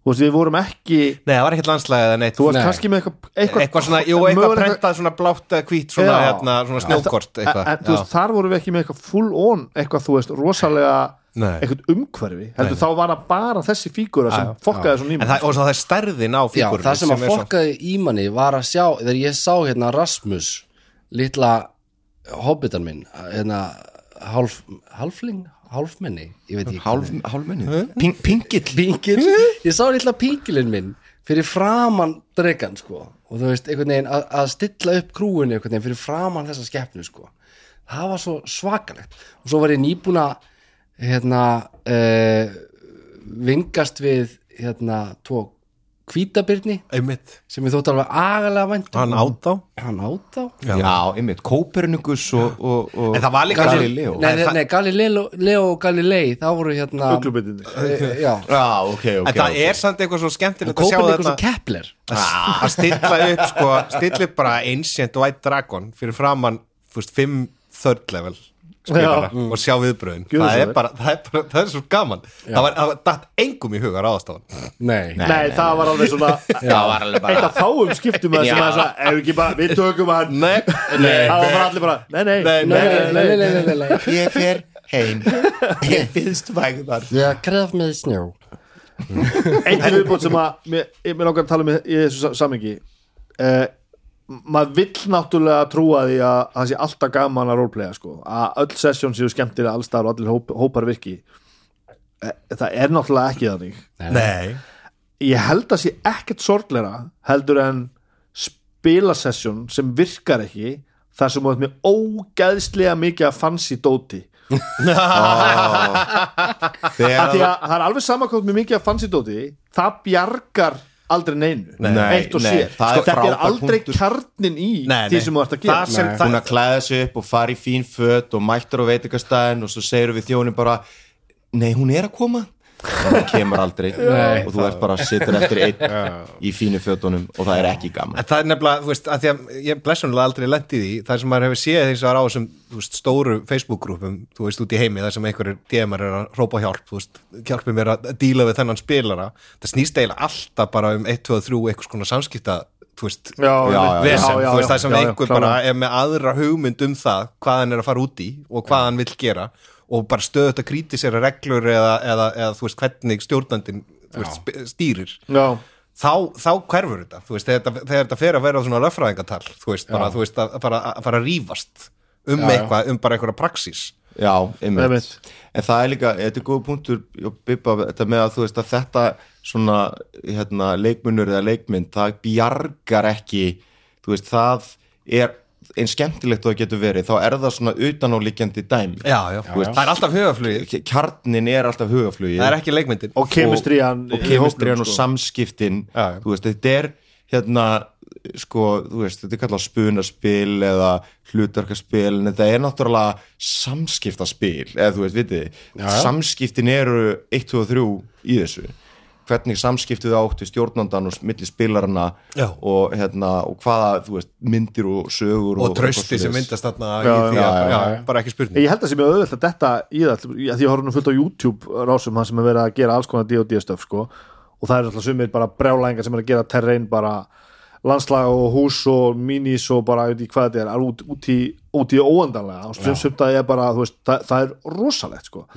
H: þú veist, við vorum ekki
G: nei, það var ekkert landslæðið eða neitt
H: þú varst
G: Nei.
H: kannski með eitthvað
G: eitthvað svona, jú, eitthvað
H: mögulega-
G: prentað svona blátt eða hvít svona,
H: Sko, Já.
G: hérna, svona snjókort
H: en,
G: eitthvað
H: en þú veist, þar vorum við ekki með eitthvað full on eitthvað, þú veist, rosalega
G: Nei.
H: eitthvað umhverfi, heldur þá var það bara þessi fígúra sem fokkaði svo
G: En
H: nýmur
G: það, og svo það er stærðin á
F: Já,
G: fígurinu
F: það sem að
G: er svo-
F: fokkaði í manni var að sjá þegar ég sá hérna Rasmus litla hobbitan minn hérna hálf, hálfling, hálfmenni ég veit ekki
E: Hálf, hálfmenni? Ping, pingill?
F: pingil,
G: Hm?
F: ég sá litla pingilinn minn fyrir framan dregan sko og þú veist, einhvern veginn að, að stilla upp krúinu einhvern veginn fyrir framan þessa skeppnu sko það var svo svakalegt og svo var ég nýbúna hérna uh, vingast við hérna tvo kvítabirni
G: Einmitt.
F: sem ég þótt alveg agalega vænt um.
G: hann át þá
F: hann át á
E: Já, einmitt, Kópernikus og, og, og
G: En það var líka
E: Galileo
F: nei, nei, nei, Galileo Leo og Galilei það voru hérna
H: Uglubitinni.
F: e, já,
E: Já, ok, ok
G: En það
E: ok.
G: er samt eitthvað svo skemmtilegt að sjá
F: Kopernikus
G: þetta Ah,
F: og Kepler
G: að stilla upp sko, stilla upp bara Ancient White Dragon fyrir framann fúst, 5 third level spilara
H: Já.
G: og sjá viðbröðin
H: Gjörðu
G: það
H: svo
G: er,
H: vel.
G: bara, það, er bara, það er svo gaman það var, það var datt engum í huga ráðastafan
F: nei,
H: Nei, það var alveg svona
E: Það var alveg
H: eitt
E: bara
H: af fáum skiptum að sem
E: Já.
H: að það er ekki bara, við tökum hann
G: Nei,
H: það var bara allir bara, nei, nei,
F: nei,
G: Nei,
F: nei, nei, nei, nei, nei, nei.
E: Ég fer heim Ég finnst vægðar
F: Já, kref með snjó
H: eitt viðbót sem að mér, ég- mér langar að tala um í þessu sa- samhengi eh, maður vill náttúrulega trúa því að það sé alltaf gaman að roleplaya sko, að öll sessjón séu skemmtilega allstar og allir hóp, hópar virki Eh, það er náttúrulega ekki þannig
G: nei
H: ég held að sé ekkert sorgleira heldur en spilasessjón sem virkar ekki þar sem þú ert með ógæðslega mikið að fancy dóti Af
E: Þegar
H: því að það er alveg samakvæmt með mikið að fancy dóti það bjargar aldrei neinu
E: Nei,
H: eitt og
E: nei,
H: sér,
E: það er
H: sko, þetta er
E: frábær
H: aldrei
E: punktur.
H: kjarnin í
G: Nei,
H: því
G: nei.
H: sem þú ert að gera
G: það sem
E: hún
G: það,
E: að klæða sig upp og fara í fín fött og mættar á veitingastæðin og svo segir við þjónum bara Nei, hún er að koma það kemur aldrei
F: Nei.
E: og þú ert bara að sitja eftir einn í fínu fötunum og það er ekki gaman
G: En það er nefnilega, þú veist, að því að ég blessunlega aldrei lendi því, það sem maður hefur séð þeins að á þessum, þú veist, stóru Facebook-grúpum þú veist, út í heimi, þar sem einhverjir DM-ar er að hrópa á hjálp, þú veist, hjálpi mér að díla við þennan spilara, það snýst eiginlega alltaf bara um 1, 2, 3, einhvers konar samskipta, þú veist,
H: Já, já, já,
G: vesen,
H: já, já,
G: þú veist, það sem
H: já, já,
G: einhver bara
H: klárlega.
G: er með aðra hugmynd um það hvað hann er að fara út í og hvað hann vill gera og bara stöðut að krítisera reglur eða, eða, eða þú veist hvernig stjórnandin þú veist, sp- stýrir
H: Já.
G: þá, þá hverfur þetta þú veist, þegar, þetta- þegar þetta fer að vera svona löffræðingatal þú veist, bara, þú veist að, að, fara, að fara að rífast um eitthvað, um bara einhverja praxís
E: Já, einmitt
H: Einmitt.
E: En það er líka, þetta er góð punktur já, Bibba, þetta með að þú veist að þetta svona, hérna, leikmunur eða leikmynd, það bjargar ekki þú veist, það er eins skemmtilegt og það getur verið þá er það svona utanálíkjandi dæmi
G: já, já,
E: Þú veist-
G: það er alltaf hugaflugið
E: kjarnin er alltaf hugaflugi
G: það er ekki leikmyndin
H: og kemistrían sko.
E: og kemistriðan og samskiptin
G: sko. Já, já.
E: þú veist, þetta er hérna sko, þú veist, þetta er kallað spunaspil eða hlutarkaspil en þetta er náttúrulega samskiptaspil eða þú veist, vitið þið samskiptin eru 1, 2 og 3 í þessu hvernig samskiptið áttu stjórnandan og milli spilarna
G: Já.
E: og hérna, og hvaða, þú veist, myndir og sögur
G: og trösti
E: eitthvað
G: sem
E: svoleiðis.
G: myndast þarna
H: Já,
G: í því
E: já,
G: að-
E: já,
G: já, bara ekki spurning
H: Ég held að sem ég auðvitað detta í það því að ég horfði nú fullt á YouTube rásum hann sem er verið að gera alls konar D&D stöf sko. og það er alltaf sumir bara brjálæðingar sem er að gera terrein bara landslag og hús og minis og bara ég veit ekki hvað þetta er, er út, út, í, út í óandanlega og sem sumt að ég bara, þú veist, það, það er rosalegt sko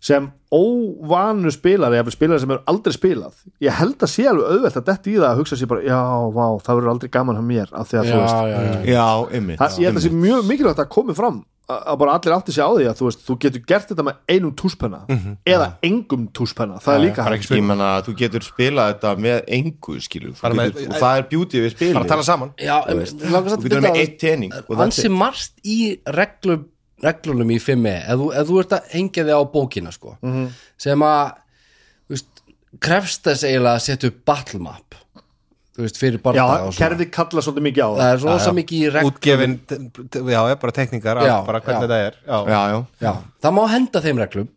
H: sem óvanu spilari, eða spilari sem eru aldrei spilað ég held að sé alveg auðvelt að detta í það að hugsa sér bara, já, vá, það verður aldrei gaman hann mér af því að þú veist,
I: já,
E: Já, einmitt
H: það, ég held að sé mjög mikilvægt að komi fram að að bara allir átti sig á því að þú veist þú getur gert þetta með einum túspenna eða engum túspenna, það er líka hægt
E: ég menna að þú getur spilað þetta með engu skilur, Þú
G: Bara með-
E: getur, og það er beauty við spilið
G: bara að tala saman
F: já, en mig langar samt
E: þú getur
F: vita
E: með
F: að-
E: eitt tening og það
F: ansi margt í reglum, reglunum í 5e ef, þú- ef þú ert að hengja þig á bókina sko, sem að þú veist, krefst þess eiginlega að setja upp battle map þú veist, fyrir
H: já,
F: barða um og svona
H: kerfi kalla svolítið mikið á það
F: það er rosa mikið í reglum
G: útgefin, já, já, bara tekningar
F: Já,
G: já, bara hvernig
F: já.
G: það er já.
E: já, já.
F: já, það má henda þeim reglum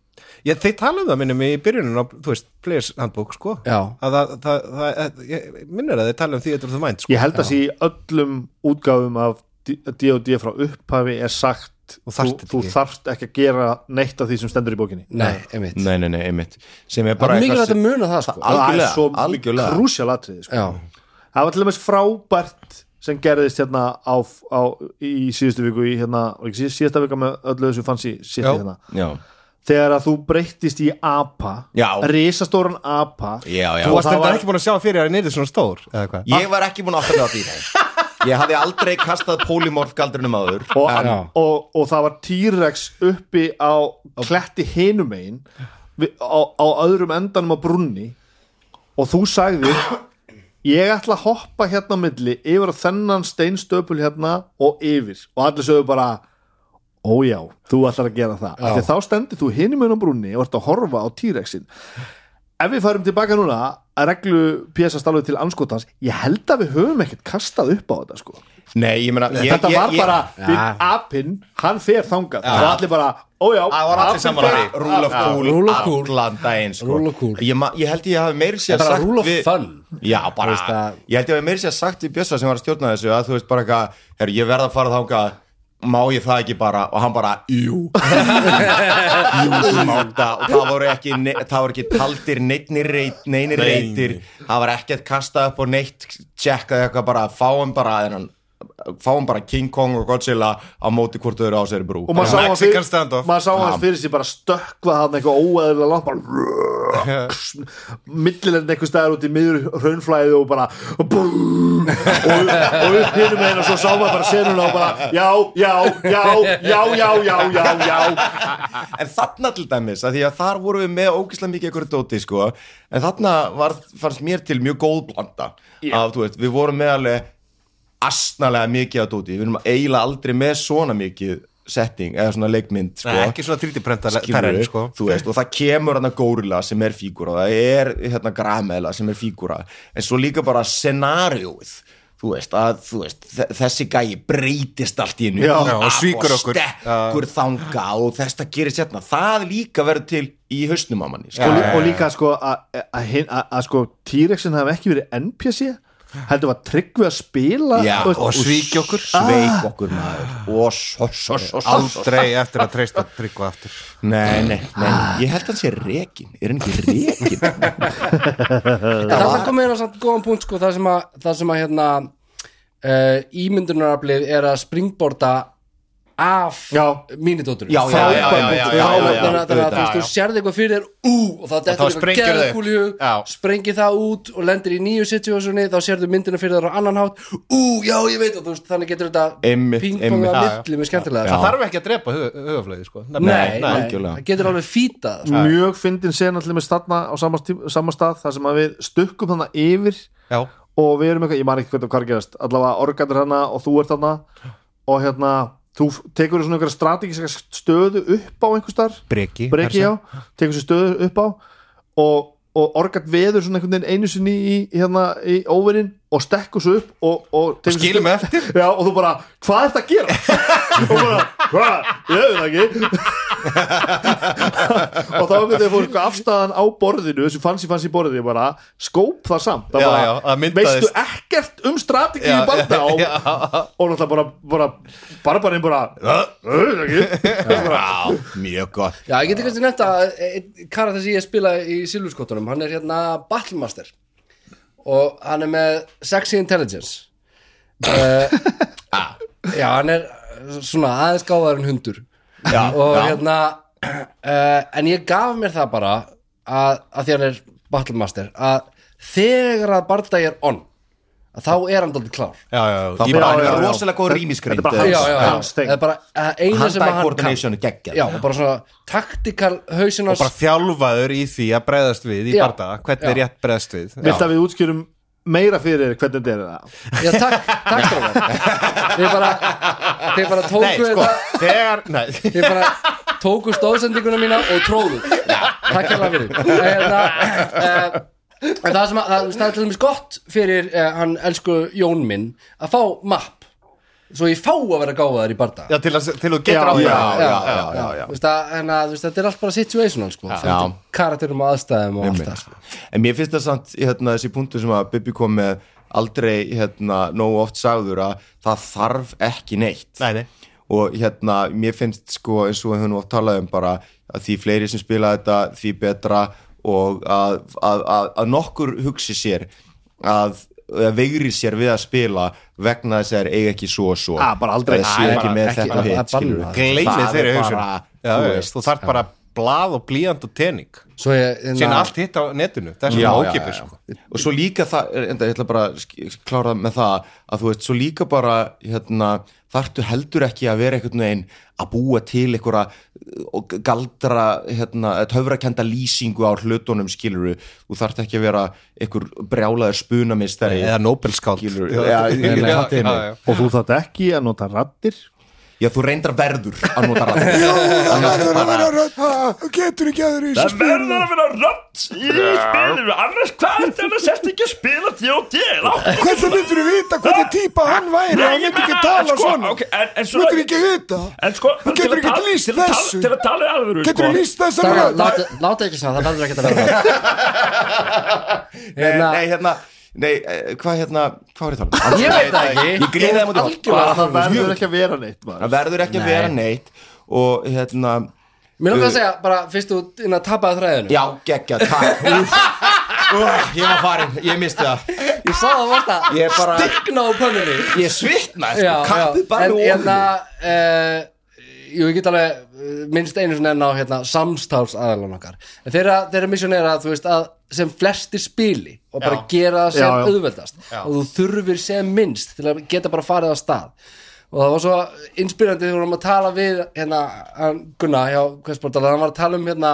G: Ég, þeir tala um það minnum í byrjunum á, þú veist, Players Handbook, sko
F: Já.
G: að það, það, það, það ég, minnir að þeir tala um Theater of the Mind, sko
H: ég held að sé í öllum útgáfum af D- D&D frá upphafi er sagt
G: Og
H: þú,
G: þarft þetta
H: þú
G: ekki.
H: þarft ekki að gera neitt af því sem stendur í bókinni
F: nei, einmitt
E: Nei, nei, nei, einmitt sem er
F: það
E: bara
F: er mikilvægt
E: sem-
F: að muna það sko
H: það er svo
E: algjörlega, algjörlega
H: krúsjalatriði sko.
F: já,
H: það var til dæmis frábært sem gerðist hérna á, á, í síðustu viku í hérna, var ekki síðust- síðasta vika með öllu þessu fancy shit
G: Já.
H: hérna
E: Já,
H: þegar að þú breyttist í apa
E: Já.
H: risastóran apa
E: já, já
G: Þú varst
H: það
G: þetta
H: var-
G: ekki búin að sjá fyrir að neyrið svona stór eða hvað?
E: Ég var ekki búin að átta mig á því nei. Ég hafði aldrei kastað polymorf galdrinum áður Eh,
H: og,
F: Já.
H: og, og það var T-Rex uppi á kletti hinum einn á, á öðrum endanum á brunni og þú sagði ég ætla að hoppa hérna á milli yfir á þennan steinstöpul hérna og yfir og allir sögðu bara ójá, þú ætlar að gera það Af því þá stendir þú hinum einn á brunni og ert að horfa á T-Rexin ef við farum tilbaka núna að reglu pjæsast alveg til anskotans ég held að við höfum ekkert kastað upp á þetta sko
E: Nei, ég meina ég,
H: þetta
E: ég,
H: var
E: ég,
H: bara við apinn, hann fer þangað það var allir bara, ójá
E: Það var allir saman að því Rúl of
F: Rule
E: cool
F: of cool.
E: Allan daginn sko.
F: Rule of cool.
E: ég, ma- ég held ég hafi meiri sér
F: bara
E: sagt
F: rule of
E: við-
F: fun.
E: Já, bara
F: veist að-
E: Ég held ég hafi meiri sér sagt við Bjössa sem var að stjórna þessu að þú veist bara eitthvað Herru, ég verð að fara þangað Má ég það ekki bara Og hann bara, jú Jú, þú mátt það og það voru ekki, ne- það voru ekki taldir neittnir reit, neinir reitir það var ekkert kastað upp og neitt tjekkaði eitthvað bara, fáum bara þennan, fáum bara King Kong og Godzilla á móti hvort þau eru á sér brú
H: og maður sá hann fyrir,
G: Mexican standoff.
H: maður sá hann fyrir sér bara stökkva hann eitthvað óæðilega langt bara millilend einhver staðar út í miður hraunflæði og bara búm, og, og upp hinum með henn og svo sá maður bara senuna og bara já, já, já, já, já, já, já, já
E: en þarna til dæmis, að því að þar vorum við með ógislega mikið einhverju dóti sko en þarna var, fannst mér til mjög góð blanda af, þú veist, við vorum með alveg astnalega mikið á dóti, við erum eiginlega aldrei með svona mikið setting eða svona leikmynd sko.
G: Nei, ekki svona 3D-prenta
E: skilur
G: terren, sko
E: þú veist, og það kemur hann að górila sem er fígúra, það er hérna grameðla sem er fígúra, en svo líka bara scenarióið, þú þú veist, að, þú veist þe- þessi gæi breytist allt í einu
H: Já.
E: Af
G: Já, og svíkur okkur.
E: stekkur þanga og þetta gerist hérna það líka verður til í hausnum á manni sko.
H: og, lí, og líka sko að- að hin- að að sko T-Rexin hafði ekki verið NPC heldur var tryggvið að spila
E: Já, Ah.
H: þú veist,
G: og svíkja okkur.
E: sveik okkur maður og svo, svo, svo, svo, svo.
G: Aldrei eftir að treysta tryggva aftur
E: Nei, nei, nei, ég held að hann sé rekin er hann ekki rekin?
F: en þarna kom meira samt góðan punkt sko, það sem að, það sem að hérna, uh, ímyndunaraflið er að springborda af
H: Já.
F: mínidóttur
E: Já, já, já, já, já, já, já, já,
F: þannig að þú
E: auðvitað,
F: veist, þú sérði eitthvað fyrir þér ú, og þá
G: þá
F: dettur eitthvað
G: sprengir þau upp.
F: geðkúli í hug,
G: Já.
F: sprengir það út og lendir í nýju situationi, þá sérðu myndina fyrir þér á annan hátt, ú, já, ég veit og þú veist, þannig getur þetta
E: Einmitt,
F: pingponga
E: einmitt.
F: milli með skemmtilega
G: Það þarf ekki að drepa hugaflöði sko
F: nei, nei,
E: algjörlega.
F: það getur alveg fýtað sko.
H: mjög fyndin sen allir með stanna á sama, tí- sama stað þar sem að við stukkum hana yfir
G: Já,
H: og við erum eitthvað, ég man ekki hvernig hvað er að gerast allavega organdir hana og þú ert hana og hérna, þú f- tekur svona einhverja strategíska stöðu upp á einhver starf
G: breki
H: breki
G: persón.
H: á, tekur sér stöðu upp á og, og orgat veður svona einhvern veginn einu sinni í, hérna, í óverinn og stekkur svo upp og, og, tekur sér
G: skilur
H: stöðu-
G: mig eftir.
H: já, og þú bara, hvað ert að gera? og bara, hvað? ég veit það ekki og þá einhvern veginn fór eitthvað afstæðan á borðinu sem fanns í fanns í borðinu bara, skóp það samt það
G: Já,
H: bara,
G: já, það myndaðist.
H: veistu ekkert um strategíu
G: Já,
H: banda og, og náttúrulega bara, bara barbarinn bara, ég veit það ekki
E: Já, mjög gott
F: Já, ég geti kannski nefnt að eh, einn karakter sem ég spila í Silvurskottunum, hann er hérna Battlemaster og hann er með Sexy Intelligence uh, Já, hann er svona aðeins gáðar en hundur já, og
E: Ah, já.
F: hérna uh, en ég gaf mér það bara að, að því hann er Battlemaster að þegar að barndagi er on að þá er hann dálítið klár
G: Já, já, já.
E: Það
G: Ég
E: er
G: bara-
E: bara
H: já, já.
E: rosalega góð rýmiskrind
H: Þetta er bara
F: já, já, já,
H: hans thing.
F: það er bara að eina sem að
E: Hand-eye
F: hann kann
E: coordination er geggjað.
F: já, og bara svona taktikal hausin
G: Og bara þjálfaður í því að bregðast við í
F: Já.
G: bardaða, hvernig
F: Já.
G: er rétt bregðast við
H: vilt að við útskjörum meira fyrir þér hvernig þetta er það
F: Já, takk, takk strákar Þið bara, þið bara tóku
G: Nei, sko,
F: þetta
G: þegar Nei,
F: Þið bara tóku stóðsendinguna mína og tróðu Takk hérna fyrir En það, en það sem að, það, það er til dæmis gott fyrir eh, hann elsku Jón minn að fá mapp svo ég fá að vera gáfaðar í barda
G: já, til, að, til þú getur
H: Já,
G: áfram
E: já, já, já, já, já.
F: Þú veist að, en að, þú veist, þetta er allt bara situational sko, Þetta er karakterum og aðstæðum og allt það sko.
E: En mér finnst það samt hérna, þessi punktu sem að Bibi kom með aldrei hérna, nógu oft sagður að það þarf ekki neitt
G: Nei, nei.
E: og hérna, mér finnst sko eins og við höfum oft talað um bara að því fleiri sem spila þetta, því betra og að, að, að, að nokkur hugsi sér að, að veigri sér við að spila vegna þess að þeir eiga ekki svo og svo
H: Ah, bara aldrei.
E: Eða séu
G: Nei,
E: ekki
G: bara
E: með
F: ekki-
E: þetta og
F: það-
E: hitt
F: það er
E: skilur
F: bannað.
G: Gleimið
E: Það er
G: þeirri hugsun
E: bara,
G: Já,
E: þú
G: já,
E: veist,
G: Þú þarf bara blað og blíjand og tening
F: Svo ég, hérna, en
G: Sýn
F: að-
G: allt hitt á netinu, það er
E: Já,
G: svona
E: já,
G: ókipir
E: já.
G: sko.
E: og svo líka það, enda ég ætla bara að sk- klára með það að þú veist, svo líka bara hérna, þartu heldur ekki að vera einhvern veginn að búa til einhverja uh, og galdra hérna, töfrakenda lýsingu á hlutunum skiluru, þú þarft ekki að vera einhver brjálaður spunamistari
G: Eða Nobelskáld
E: skilur, já, já, já,
G: já, já, já.
H: og þú þátt ekki að nota rattir
E: já, þú reyndar verður að nota rætt það verður að vera rætt það getur ekki aður í þessu spil
J: verður að vera rönt í spilinu annars hvað er þetta sérst ekki að spila D.O.D. Láttu
E: hvernig myndur þú vita hvernig típa hann væri hann myndi ekki tala
J: sko,
E: svona
J: okay, en, en, svo,
E: myndur ekki vita
J: en sko bara til
E: getur
J: að
E: ekki
J: tala-
E: lýst
J: til að tala-
E: þessu.
J: Til að tala í alvöru
E: getur þú
J: sko.
E: lýst þessu
F: Strákar, láta- Láta ekki svona, það verður ekki að vera það
E: Nei,
F: Hérna-
E: nei, hérna Nei, eh, hvað hérna, hvað er ég að tala um?
F: Ég veit það ekki.
E: Ég um greiði það mútið
F: Algjörlega.
H: það verður ekki að vera neitt maður.
E: Það verður ekki að vera neitt Og hérna,
F: Mér langar að segja, bara fyrst þú inn að tapaði þræðinu
E: já, geggja, takk Úf, úf, Ég var farin, ég misti það
F: Ég sá það varst að
E: Ég bara-
F: stikna á pönnunni
E: Ég svitnaði, sko, kappið bara
F: En
E: úr
F: hérna uh, Jú, ég get alveg eh, minnst einu svona enn á hérna, samstáls aðalann okkar En Þeirra, þeirra misjón er að þú veist að sem flesti spili og bara gera það sem
H: Já, já.
F: auðveldast og þú þurfir sem minnst til að geta bara farið á stað og það var svo inspirandi þegar við vorum að tala við hérna, hann Gunnar hjá Kvestbortal, hann var að tala um hérna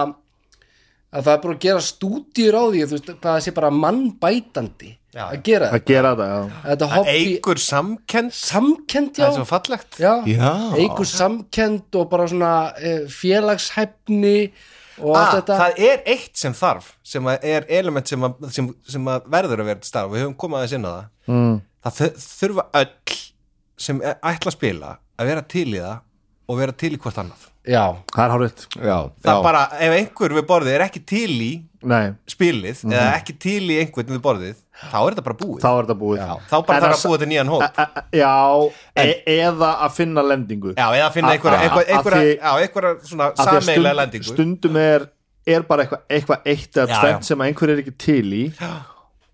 F: að það er bara að gera stúdíur á því þú veist, hvað það sé bara mannbætandi að gera
H: að
F: þetta
H: gera það, já.
F: Að þetta
G: Það
F: hobby
G: Eigur samkend
F: samkend já,
G: Það er svo fallegt
F: já.
E: Já.
F: eigur samkend og bara svona eh, félagshæfni og allt
G: Ah,
F: þetta
G: það er eitt sem þarf sem að er element sem, að, sem, sem að verður að vera til starf við höfum komað að sinna það mm. það þu- þurfa öll sem er- ætla að spila að vera til í það og vera til í hvort annað
F: já,
H: það er hárið
E: já,
G: það
E: já.
G: bara, ef einhver við borðið er ekki til í
H: Nei,
G: spilið
F: Mhm.
G: eða ekki til í einhvern við borðið þá er þetta bara búið
H: þá er þetta búið
G: þá bara
H: En
G: þarf
H: að-
G: að búa þetta nýjan hóp
H: E- e- Já, e eða að finna lendingu
G: já, eða finna
H: A-
G: einhverja
H: a-
G: einhverja,
H: að
G: einhverja,
H: því-
G: já, einhverja svona
H: Af því að
G: sameiginlega
H: stund-
G: lendingu
H: Stundum er, er bara eitthvað eitthva eitt eða
G: Já,
H: tvent
G: já.
H: sem að einhver er ekki til í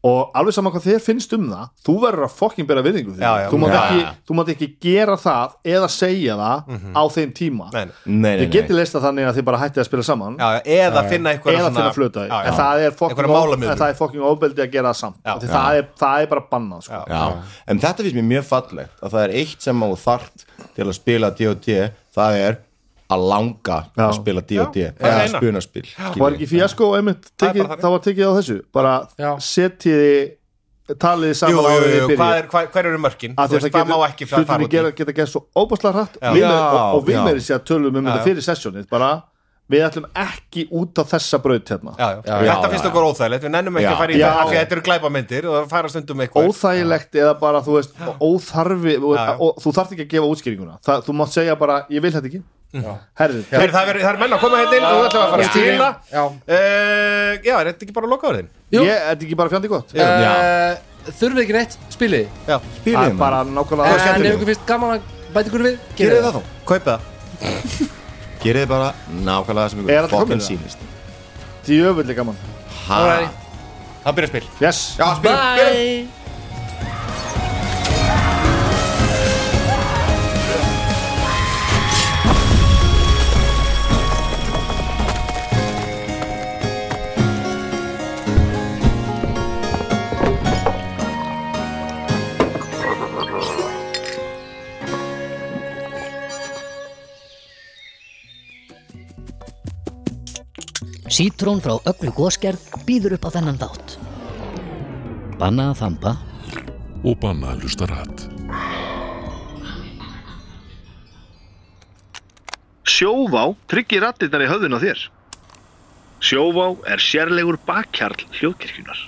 H: og alveg saman hvað þér finnst um það þú verður að fokkin bera virðingu fyrir
G: Já,
H: því.
G: já.
H: þú mátt
G: Já,
H: ekki,
G: já. Mhm.
H: þú mátt ekki gera það eða segja það á þeim tíma
G: Nei, nei.
E: nei, nei,
H: þið getið leist það þannig að þið bara hættið að spila saman
G: já, já, eða finna einhverja
H: eða finna flöta í. en það er
G: Einhverja
H: fokkin
G: málamiðlun.
H: en það er fokkin ofbeldi að gera það samt
G: Já.
H: Af því það er, það er bara bannað sko.
E: Já, en þetta finnst mér mjög fallegt að það er eitt sem á þart til að spila D&D, það er að langa
H: Já.
E: að spila D&D
G: það er
E: eða
G: eina.
E: spunaspil
H: var ekki fíasko einmitt
G: Það er
H: tekið,
G: bara þannig.
H: það var tekið á þessu bara
F: Já.
H: setjiði taliði
G: Jú,
H: saman
G: jú,
H: áður en
G: jú,
H: þið
G: jú, hvað
H: byrjið
G: er- hvað- hver eru mörkin Þú
H: Af því að
G: veist, það má ekki fara
H: hlutinni
G: út í.
H: gera, geta gert svo óbúslega hratt
G: Já.
H: við,
E: Já,
H: og, og við
E: já.
H: meiri sér að tölum um
G: já.
H: þetta fyrir sessjónið bara, við ætlum ekki út á þessa braut hérna
G: já, já. þetta
E: já,
G: finnst
E: já.
G: okkur óþægilegt, við nennum ekki
E: Já.
G: að fara í
H: Já.
G: það af því að þetta eru glæpamyndir og það fara stundum eitthvað
H: óþægilegt eða bara, þú veist, óþarfi og,
G: Já, já.
H: og þú þarft ekki að gefa útskýringuna Þa, þú mátt segja bara, ég vil þetta ekki herrið,
G: Heyrðu, það er, það er menn að koma hérna inn og þú ætlum að fara að stýla
F: Já.
G: uh, Já, er þetta ekki bara að loka orðin?
F: Jú.
H: ég er þetta ekki bara fjandi gott
F: uh, þurfið ekki neitt, spilið
G: Já,
H: það er bara nákvæmlega
F: en ef ykkur finnst gaman að bæta ykkur við gerið
E: Gerið það þá,
G: kaupa það
E: gerið þið bara nákvæmlega sem
H: Er
E: ykkur
H: þetta komið
E: fokkin
H: það?
E: sýnist
H: djöfulli gaman
E: Ha,
G: Það byrja spil
H: yes,
E: já, spilum, spilum
B: Bye! Sítrón frá öllu góskerð býður upp á þennan þátt. Banna að þamba
C: og banna að hlusta rætt.
A: Sjóvá tryggir rattirnar í höfðun á þér. Sjóvá er sérlegur bakkjarl hljóðkirkjunar.